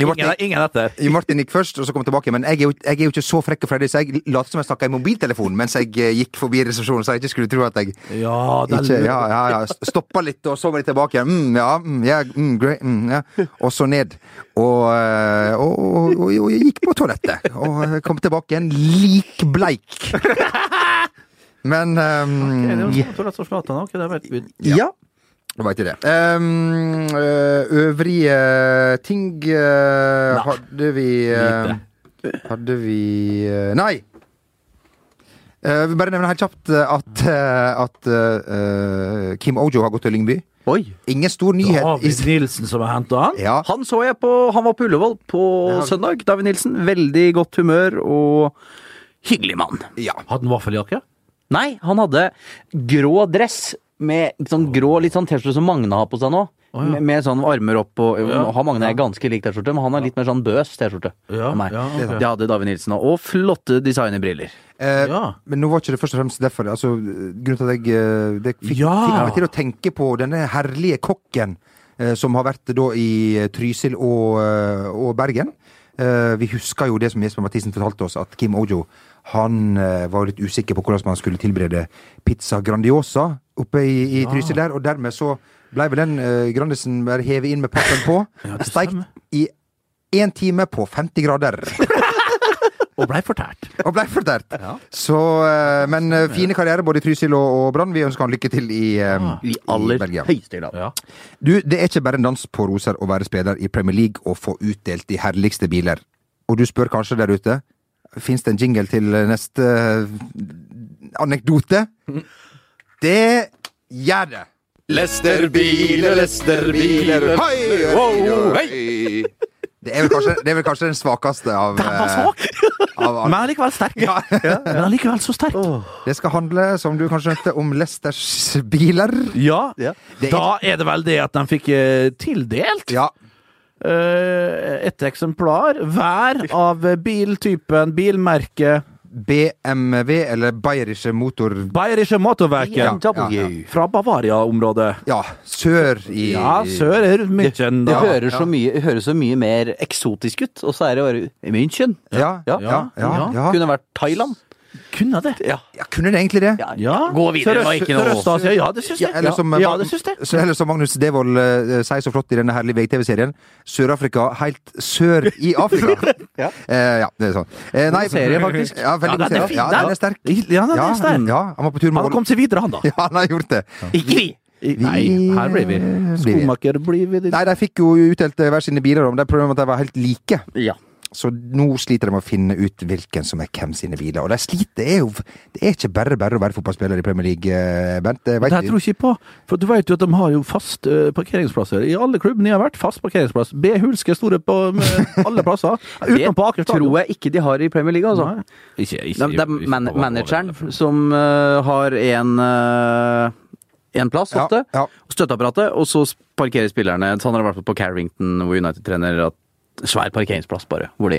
[SPEAKER 2] jo,
[SPEAKER 3] Ingen,
[SPEAKER 2] Martin,
[SPEAKER 3] ingen etter.
[SPEAKER 2] jo, Martin gikk først, og så kom han tilbake. Men jeg er jo, jeg er jo ikke så frekk og freddy, så jeg lot som jeg snakka i mobiltelefonen mens jeg eh, gikk forbi resepsjonen, så jeg ikke skulle tro at jeg
[SPEAKER 3] Ja, det er
[SPEAKER 2] Ikke, ja, ja, ja. Stoppa litt, og så var de tilbake igjen. Mm, ja, mm, ja, mm, great, mm, ja. Og så ned. Og, eh, og, og, og, og jeg gikk på toalettet. Og kom tilbake igjen likbleik. Men
[SPEAKER 3] Ja, det
[SPEAKER 2] um,
[SPEAKER 3] er jo sånn at Zlatan, ok, det vet vi.
[SPEAKER 2] Ja. Det var ikke det. Um, eh, øvrige ting eh, hadde vi eh, Hadde vi eh, Nei! Eh, Jeg vil bare nevne helt kjapt eh, at, eh, at eh, eh, Kim Ojo har gått til Lyngby.
[SPEAKER 1] Oi.
[SPEAKER 2] Ingen stor nyhet.
[SPEAKER 3] David
[SPEAKER 2] i-
[SPEAKER 3] Nilsen som har henta han.
[SPEAKER 2] Ja,
[SPEAKER 1] Han så jeg på Han var på Ullevål på søndag. David Nilsen. Veldig godt humør og hyggelig mann.
[SPEAKER 2] ja.
[SPEAKER 3] Hadde han vaffeljakke?
[SPEAKER 1] Nei, han hadde grå dress med litt sånn grå, litt sånn T-skjorte som Magne har på seg nå. med, med sånn armer opp og
[SPEAKER 3] Ja,
[SPEAKER 1] Nå har Magne er ganske lik T-skjorte, men han har litt mer sånn bøs T-skjorte.
[SPEAKER 3] Ja,
[SPEAKER 1] enn meg.
[SPEAKER 3] ja, ok.
[SPEAKER 1] Det hadde David Nilsen òg. Og flotte designerbriller.
[SPEAKER 2] Eh,
[SPEAKER 3] Ja.
[SPEAKER 2] Men nå var ikke det først og fremst derfor. Altså, grunnen til at jeg eh, det fikk,
[SPEAKER 3] Ja.
[SPEAKER 2] fikk meg til å tenke på denne herlige kokken eh, som har vært da i Trysil og, eh, og Bergen. Eh, vi husker jo det som Jesper Mathisen fortalte oss, at Kim Ojo han eh, var jo litt usikker på hvordan man skulle tilberede pizza Grandiosa oppe i, i Trysil der, og dermed så ble vel den eh, Grandisen bare hevet inn med pappen på, steikt i én time på 50 grader
[SPEAKER 3] Og blei fortært.
[SPEAKER 2] og ble fortært. Så, eh, men eh, fine karriere både i Trysil og, og Brann. Vi ønsker han lykke til i, eh,
[SPEAKER 1] I aller
[SPEAKER 2] Belgia.
[SPEAKER 1] høyeste grad.
[SPEAKER 3] Ja.
[SPEAKER 2] Du, det er ikke bare en dans på roser å være spiller i Premier League og få utdelt de herligste biler. Og du spør kanskje der ute, fins det en jingle til neste eh, anekdote? Det gjør det!
[SPEAKER 5] Lesterbiler, lesterbiler
[SPEAKER 2] Hei!
[SPEAKER 5] Wow, hei!
[SPEAKER 2] Det er vel kanskje, det er vel kanskje den svakeste av,
[SPEAKER 3] Den var
[SPEAKER 2] eh,
[SPEAKER 3] svak,
[SPEAKER 2] av
[SPEAKER 3] men allikevel sterk. Men allikevel så sterk.
[SPEAKER 2] Det skal handle, som du kanskje skjønte, om Lesters biler.
[SPEAKER 3] Ja.
[SPEAKER 2] Det er-
[SPEAKER 3] Da er det vel det at de fikk eh, tildelt
[SPEAKER 2] Ja,
[SPEAKER 3] eh, et eksemplar hver av eh, biltypen, bilmerket
[SPEAKER 2] BMW, eller Bayerische Motor...
[SPEAKER 3] Bayerische Motorwerke
[SPEAKER 2] Ja, ja, ja.
[SPEAKER 3] fra Bavaria-området.
[SPEAKER 2] Ja, sør i
[SPEAKER 3] Ja, sør er rundt München.
[SPEAKER 1] Det
[SPEAKER 3] da.
[SPEAKER 1] høres, så mye, det høres så mye mer eksotisk ut, og så er det bare i München.
[SPEAKER 2] Ja, ja, ja. ja, ja.
[SPEAKER 1] Kunne vært Thailand.
[SPEAKER 3] Kunne det. Ja.
[SPEAKER 2] ja kunne det egentlig det?
[SPEAKER 1] Gå videre, det var ikke noe
[SPEAKER 3] Sørøst-Asia, ja, det syns jeg.
[SPEAKER 2] Eller som,
[SPEAKER 3] ja, det syns jeg.
[SPEAKER 2] Så, eller som Magnus Devold eh, sier så flott i denne herlige VGTV-serien, Sør-Afrika helt sør i Afrika. ja. ja, det er sånn. Eh, nei,
[SPEAKER 1] serie, faktisk.
[SPEAKER 2] Ja, veldig god
[SPEAKER 3] den er
[SPEAKER 2] serie.
[SPEAKER 3] fin,
[SPEAKER 2] Ja,
[SPEAKER 3] den.
[SPEAKER 2] den er sterk.
[SPEAKER 3] Ja, den er sterk.
[SPEAKER 2] Ja, han var på tur
[SPEAKER 3] Han
[SPEAKER 2] med
[SPEAKER 3] har kommet seg videre, han, da.
[SPEAKER 2] Ja, han har gjort det.
[SPEAKER 1] Ikke vi!
[SPEAKER 3] Nei, her blir vi.
[SPEAKER 2] blir vi.
[SPEAKER 3] Skomaker blir vi.
[SPEAKER 2] Nei, de fikk jo utdelt eh, hver sine biler, men det er problemet med at de var helt like.
[SPEAKER 1] Ja.
[SPEAKER 2] Så nå sliter de med å finne ut hvilken som er hvem sine biler. Og de sliter det er jo Det er ikke bare bare å være fotballspiller i Premier League, eh, Bent. Det
[SPEAKER 3] Det
[SPEAKER 2] vet
[SPEAKER 3] her tror jeg ikke på. For du vet jo at de har jo fast eh, parkeringsplasser. I alle klubbene jeg har vært, fast parkeringsplass. B-hulske store på med alle plasser.
[SPEAKER 1] Det
[SPEAKER 3] Utenom på Aker stadion.
[SPEAKER 1] tror jeg ikke de har i Premier League, altså.
[SPEAKER 3] Nei. Ikke, ikke,
[SPEAKER 1] Det, det er
[SPEAKER 8] ikke
[SPEAKER 1] man
[SPEAKER 8] på hva-
[SPEAKER 1] manageren som eh, har en, eh, en plass
[SPEAKER 2] Ja,
[SPEAKER 1] ofte,
[SPEAKER 2] ja.
[SPEAKER 1] støtteapparatet, og så parkerer spillerne. Sånn har det vært på Carrington, hvor United trener at svær parkeringsplass bare, hvor de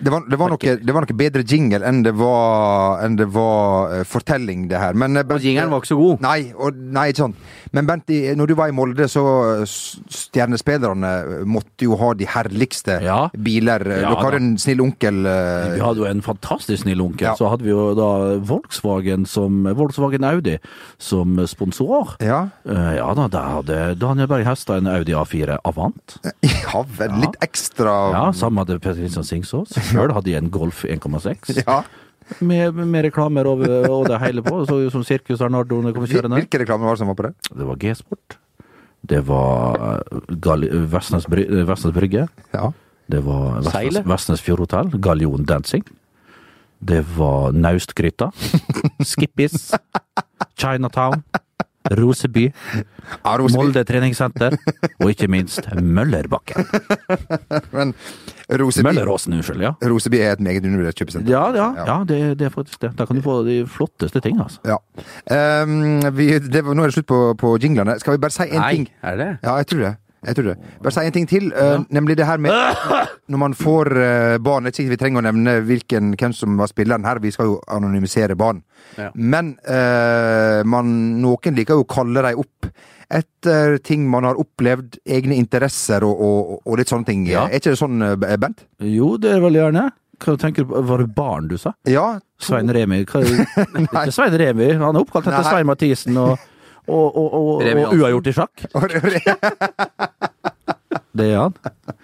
[SPEAKER 2] Det var, det, var noe, det var noe bedre jingle enn det var, enn det var eh, fortelling, det her. Men, eh, Bent-
[SPEAKER 1] Og jingeren var ikke så god.
[SPEAKER 2] Nei, og, nei, ikke sant. Men Bent, i- når du var i Molde, så eh, s- Stjernespillerne eh, måtte jo ha de herligste
[SPEAKER 3] Ja.
[SPEAKER 2] biler. Eh,
[SPEAKER 3] Ja,
[SPEAKER 2] Dere
[SPEAKER 3] da.
[SPEAKER 2] har en snill onkel eh,
[SPEAKER 3] Vi hadde jo en fantastisk snill onkel.
[SPEAKER 2] Ja.
[SPEAKER 3] Så hadde vi jo da Volkswagen, som, Volkswagen Audi som sponsor.
[SPEAKER 2] Ja.
[SPEAKER 3] Eh, ja da, da hadde Daniel Berg Hestad en Audi A4 Avant.
[SPEAKER 2] ja vel, litt ekstra
[SPEAKER 3] Ja, Sammen hadde Per Kristian Singsås. Sjøl hadde jeg en Golf 1,6.
[SPEAKER 2] Ja.
[SPEAKER 3] Med, med reklamer over, og det hele på. Så ut som Sirkus Arnardo når jeg kom
[SPEAKER 2] Hvil-
[SPEAKER 3] kjørende.
[SPEAKER 2] Hvilke reklamer var det som var på det?
[SPEAKER 3] Det var G-sport. Det var eh, Gal Vestnes, Bry eh, Vestnes Brygge.
[SPEAKER 2] Ja.
[SPEAKER 3] Det var Vestnes,
[SPEAKER 1] Seilet.
[SPEAKER 3] Vestnes Fjordhotell. Gallion Dancing. Det var Naustgryta. Skippis. Chinatown. Roseby.
[SPEAKER 2] Ja, Roseby.
[SPEAKER 3] Molde treningssenter. Og ikke minst Møllerbakken.
[SPEAKER 2] Men Roseby,
[SPEAKER 3] Mølleråsen, unnskyld. Ja,
[SPEAKER 2] Roseby er et meget undervurdert kjøpesenter.
[SPEAKER 3] ja, ja, ja det, det er faktisk det. Der kan du få de flotteste ting, altså.
[SPEAKER 2] Ja. Ehm, vi, det, var- nå er det slutt på, på jinglene. Skal vi bare si én ting?
[SPEAKER 1] er det?
[SPEAKER 2] Ja, jeg tror det. Jeg tror det. Bare si en ting til, eh, nemlig det her med Når man får eh, barn Jeg tror ikke vi trenger å nevne hvilken, hvem som var spilleren her, vi skal jo anonymisere barn.
[SPEAKER 1] Ja.
[SPEAKER 2] Men eh, man, noen liker jo å kalle dem opp etter ting man har opplevd, egne interesser og, og, og litt sånne ting.
[SPEAKER 3] Ja.
[SPEAKER 2] Er ikke det sånn, eh, Bent?
[SPEAKER 3] Jo, det er vel gjerne. Hva tenker du på? Var det barn du sa?
[SPEAKER 2] Ja.
[SPEAKER 3] Svein Remi hva, Ikke Svein Remi, han er oppkalt etter
[SPEAKER 2] Nei.
[SPEAKER 3] Svein Mathisen og, og, og, og,
[SPEAKER 1] Remi
[SPEAKER 3] og
[SPEAKER 1] Johansen.
[SPEAKER 3] uavgjort i sjakk. Det er han.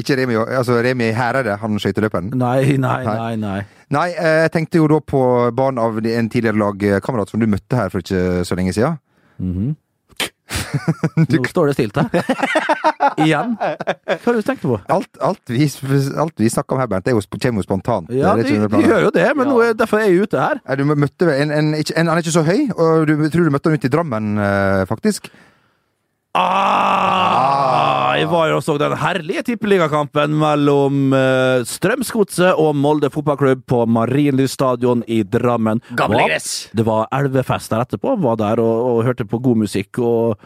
[SPEAKER 2] ikke Remi, altså Remi Hæreide, han skøyteløperen.
[SPEAKER 3] Nei, nei, nei. nei.
[SPEAKER 2] Nei, eh, jeg tenkte jo da på barn av en tidligere lagkamerat som du møtte her for ikke så lenge siden.
[SPEAKER 3] Nå står det stilt her. Igjen. Hva har du tenkt på?
[SPEAKER 2] Alt, alt, vi, alt vi snakker om her, Bernt, det er jo, sp- kommer jo spontant.
[SPEAKER 3] Ja,
[SPEAKER 2] Det er
[SPEAKER 3] de,
[SPEAKER 2] ikke noe
[SPEAKER 3] de
[SPEAKER 2] plan.
[SPEAKER 3] gjør jo det, men nå er, derfor er jeg ute her.
[SPEAKER 2] Nei, Du møtte vel en, en, ikke- en Han er ikke så høy, og du tror du møtte han ute i Drammen, eh, faktisk.
[SPEAKER 3] Ah, Jeg var jo og så den herlige tippeligakampen mellom eh, Strømsgodset og Molde fotballklubb på Marienlyst stadion i Drammen.
[SPEAKER 1] Gamle
[SPEAKER 3] Var-
[SPEAKER 1] gress.
[SPEAKER 3] Det var elvefest der etterpå. Var der og, og hørte på god musikk og,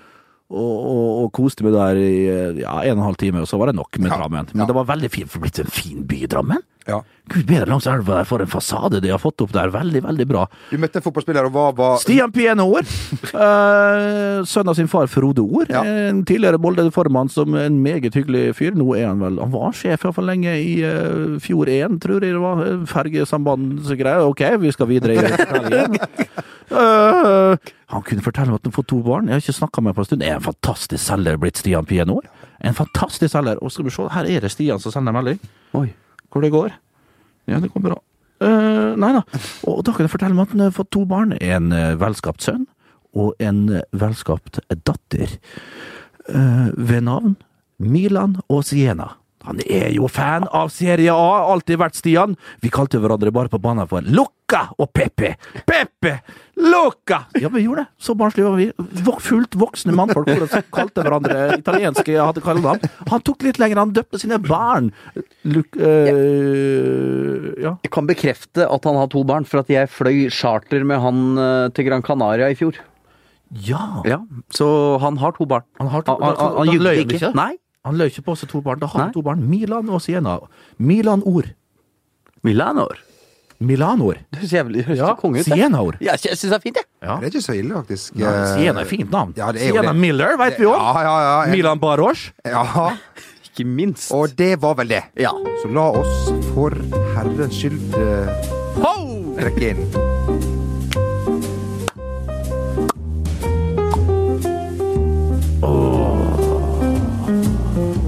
[SPEAKER 3] og, og, og koste meg der i eh, ja, en og en halv time, og så var det nok med
[SPEAKER 2] Ja,
[SPEAKER 3] Drammen. Men
[SPEAKER 2] ja.
[SPEAKER 3] det var veldig fint. for Det er blitt en fin by, Drammen.
[SPEAKER 2] Ja.
[SPEAKER 3] Gud bedre langs elva der, for en fasade de har fått opp der. Veldig, veldig bra.
[SPEAKER 2] Du møtte en fotballspiller, og hva var
[SPEAKER 3] Stian Pienoer. Uh, sønn av sin far Frode Or.
[SPEAKER 2] Ja.
[SPEAKER 3] En tidligere Molde-formann som er en meget hyggelig fyr. Nå er han vel Han var sjef iallfall lenge i eh, Fjord 1, tror jeg det var. eh, Fergesambandsgreier. Ok, vi skal videre i fortellingen. Eh, han kunne fortelle meg at han har fått to barn. Jeg har ikke snakka med ham på en stund. Er en fantastisk selger blitt Stian Pienoer. En fantastisk selger. Og skal vi se, her er det Stian som sender melding.
[SPEAKER 1] Oi.
[SPEAKER 3] Hvor det går. Ja, det går bra. Eh, nei da. Og da kan jeg fortelle meg at han har fått to barn. En eh, velskapt sønn og en eh, velskapt datter. Eh, ved navn Milan og Siena. Han er jo fan av Serie A, alltid vært Stian. Vi kalte hverandre bare på banen for Lukka og Pepe. Pepe! Lukka! Ja, vi gjorde det. Så barnslige var vi. Vok- Fullt voksne mannfolk hvordan kalte hverandre italienske hadde kallenavn. Han tok litt lenger, han døpte sine barn. Luk... eh, ja.
[SPEAKER 1] Jeg kan bekrefte at han har to barn, for at jeg fløy charter med han eh, til Gran Canaria i fjor.
[SPEAKER 3] Ja!
[SPEAKER 1] Ja, Så han har to barn.
[SPEAKER 3] Han har to-
[SPEAKER 1] han, han, han
[SPEAKER 3] Da- da løy
[SPEAKER 1] jugde
[SPEAKER 3] han
[SPEAKER 1] ikke.
[SPEAKER 3] ikke?
[SPEAKER 1] Nei.
[SPEAKER 3] Han løy ikke på seg to barn. Da har
[SPEAKER 1] Nei.
[SPEAKER 3] han to barn. Milan og Siena. Milan-ord.
[SPEAKER 1] Milanor.
[SPEAKER 3] Milan-ord.
[SPEAKER 1] Det høres jævlig høres
[SPEAKER 3] Ja,
[SPEAKER 1] så konge ut. det.
[SPEAKER 3] Siena-ord.
[SPEAKER 1] Ja, jeg syns det er fint, jeg.
[SPEAKER 3] Ja.
[SPEAKER 2] Det er ikke så ille, faktisk.
[SPEAKER 3] Ja, Siena er fint navn.
[SPEAKER 2] Eh, Ja, det er jo
[SPEAKER 3] Siena
[SPEAKER 2] det.
[SPEAKER 3] Miller vet vi jo.
[SPEAKER 2] Ja, Eh. ja, ja. Jeg-
[SPEAKER 3] Milan Baros.
[SPEAKER 2] ja.
[SPEAKER 1] Ikke minst.
[SPEAKER 2] Og det var vel det.
[SPEAKER 1] Ja.
[SPEAKER 2] Så la oss for herrens skyld eh, trekke inn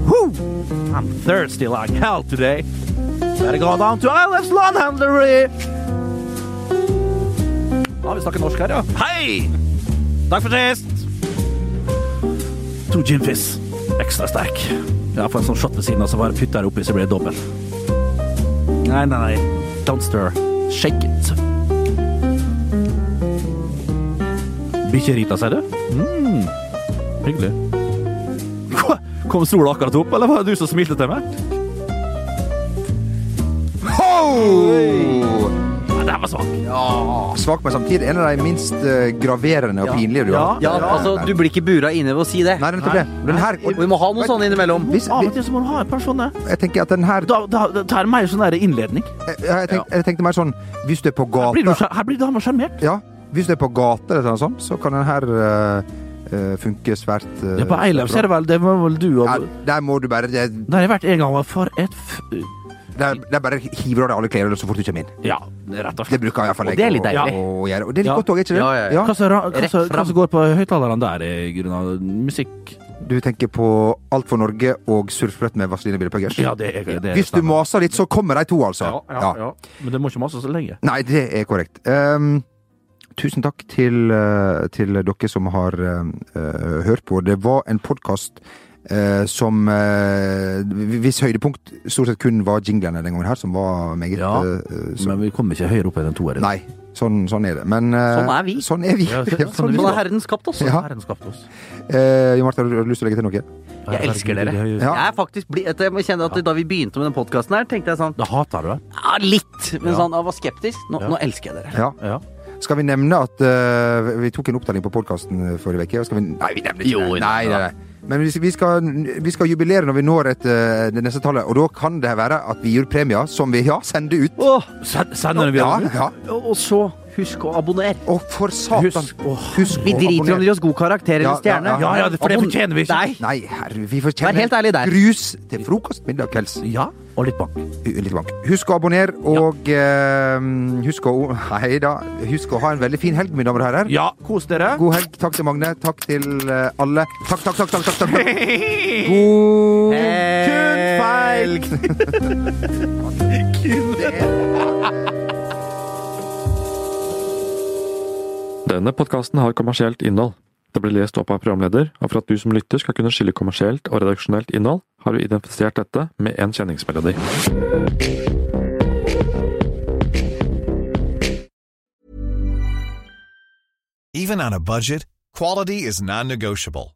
[SPEAKER 3] Woo! I'm thirsty like hell today. Better go down to Islands Landhandlery. Ja, vi snakker norsk her, ja. Hei! Takk for sist! To gin fizz. Ekstra sterk. Ja, for en sånn shot ved siden av, så bare putter jeg oppi, så blir det dobbelt. Nei, nei, nei. Don't stir. Shake it. Bikkjerita, sier du? Mm. Hyggelig. Hva? Kom sola akkurat opp, eller var det du som smilte til meg?
[SPEAKER 2] Ho!
[SPEAKER 3] Ja, det her var svak.
[SPEAKER 2] Svak, men samtidig en av de minst eh, graverende og pinlige du har.
[SPEAKER 1] Ja, altså, du blir ikke bura inne ved å si det.
[SPEAKER 2] Nei, nettopp det. Den her,
[SPEAKER 1] Og vi må ha noe sånn innimellom.
[SPEAKER 2] Hvis,
[SPEAKER 3] Av og
[SPEAKER 2] vi,
[SPEAKER 3] til så må du ha en person der.
[SPEAKER 2] jeg tenker at den her
[SPEAKER 3] Da, da, da tar jeg mer sånn der innledning.
[SPEAKER 2] jeg, jeg, tenkte, jeg tenkte mer sånn Hvis du er på
[SPEAKER 3] Her blir, du,
[SPEAKER 2] gata
[SPEAKER 3] sjar- her blir damer sjarmert.
[SPEAKER 2] Ja, hvis du er på gata eller noe sånt, så kan den her eh, eh, funke svært eh,
[SPEAKER 3] Ja, på Eilefs er det vel Det var vel du og
[SPEAKER 2] Ja, der må du bare Der,
[SPEAKER 3] Der har jeg vært en gang, og for et f...
[SPEAKER 2] der, der bare hiver du av deg alle klærne så fort du kommer inn.
[SPEAKER 3] Ja, rett og
[SPEAKER 2] Det
[SPEAKER 3] slett.
[SPEAKER 2] bruker jeg iallfall
[SPEAKER 1] Og det er litt deilig.
[SPEAKER 2] gjøre. Og det er litt
[SPEAKER 3] Ja.
[SPEAKER 2] godt òg, er ikke det?
[SPEAKER 1] Ja, ja, ja.
[SPEAKER 3] Hva som ra- hva
[SPEAKER 1] Rett
[SPEAKER 3] som- hva
[SPEAKER 1] fram.
[SPEAKER 3] som går på høyttalerne der, eh, grunn av musikk?
[SPEAKER 2] Du tenker på Alt for Norge og Surfbrett med Vaseline Billepuggers?
[SPEAKER 3] Ja, det er det. er
[SPEAKER 2] Hvis du
[SPEAKER 3] stemmer.
[SPEAKER 2] maser litt, så kommer de to, altså.
[SPEAKER 3] ja, ja, ja. Men det må ikke mase så lenge.
[SPEAKER 2] Nei, det er korrekt. Ehm, tusen takk til, eh, til dere som har eh, eh, hørt på. Det var en podkast som eh, Hvis høydepunkt stort sett kun var jinglene den gangen her, som var meget
[SPEAKER 3] Ja,
[SPEAKER 2] eh, eh, så,
[SPEAKER 3] Men vi kommer ikke høyere opp enn en toer.
[SPEAKER 2] Nei, sånn, sånn er det. Men eh,
[SPEAKER 1] Sånn er vi.
[SPEAKER 2] Sånn er vi.
[SPEAKER 3] Ja, så-
[SPEAKER 2] Ja,
[SPEAKER 3] sånn
[SPEAKER 2] sånn er
[SPEAKER 3] er vi.
[SPEAKER 2] vi.
[SPEAKER 1] Sånn har Herren skapt oss.
[SPEAKER 2] Ja.
[SPEAKER 3] Herren skapte oss.
[SPEAKER 2] Eh, Jo Martha, har du- har du lyst til å legge til noe?
[SPEAKER 1] Jeg elsker dere.
[SPEAKER 2] Ja.
[SPEAKER 1] Jeg er faktisk bli, etter- jeg må kjenne at Da vi begynte med den podkasten, tenkte jeg sånn
[SPEAKER 3] Da hater du det.
[SPEAKER 1] ja, Litt, men
[SPEAKER 3] Ja.
[SPEAKER 1] sånn, jeg var skeptisk. Nå,
[SPEAKER 3] Ja.
[SPEAKER 1] nå elsker jeg dere.
[SPEAKER 2] Ja.
[SPEAKER 3] Ja.
[SPEAKER 2] Skal vi nevne at eh, vi tok en opptelling på podkasten forrige uke? Skal vi... Nei, vi nevner ikke
[SPEAKER 1] Jo,
[SPEAKER 2] det.
[SPEAKER 1] vi
[SPEAKER 2] Nei,
[SPEAKER 1] nevner
[SPEAKER 2] nei, nei. Men vi skal, vi, skal, vi skal jubilere når vi når et, eh, det neste tallet, og da kan det være at vi gir premier som vi ja, sender ut.
[SPEAKER 3] Sen- Sender vi
[SPEAKER 2] Ja,
[SPEAKER 3] den ut?
[SPEAKER 2] ja.
[SPEAKER 1] Og så, husk å abonnere.
[SPEAKER 2] Og for satan!
[SPEAKER 3] Husk- Åh,
[SPEAKER 2] Husk
[SPEAKER 1] Vi
[SPEAKER 2] å
[SPEAKER 1] driter om
[SPEAKER 2] abonnere.
[SPEAKER 1] de gir oss god karakter eller
[SPEAKER 2] Ja, ja,
[SPEAKER 1] stjerne.
[SPEAKER 3] ja, ja, for det fortjener vi ikke.
[SPEAKER 1] Nei.
[SPEAKER 2] Nei, herre, vi får kjenne
[SPEAKER 1] Vær helt ærlig der.
[SPEAKER 2] grus til frokost, middag, kvelds.
[SPEAKER 3] Ja, og litt bank.
[SPEAKER 2] Litt bank. Husk å abonnere, og eh, husk å Hei da. Husk å ha en veldig fin helg, mine damer og herrer.
[SPEAKER 3] Ja, kos dere.
[SPEAKER 2] God helg. Takk til Magne. Takk til eh, alle. Takk, takk, takk. takk, takk, takk, takk. God
[SPEAKER 1] Helg.
[SPEAKER 2] kunstfeil!
[SPEAKER 6] Denne podkasten har kommersielt innhold. Det blir lest opp av programleder, og for at du som lytter skal kunne skille kommersielt og redaksjonelt innhold, har du identifisert dette med en kjenningsmelodi.
[SPEAKER 9] Even on a budget, quality is non-negotiable.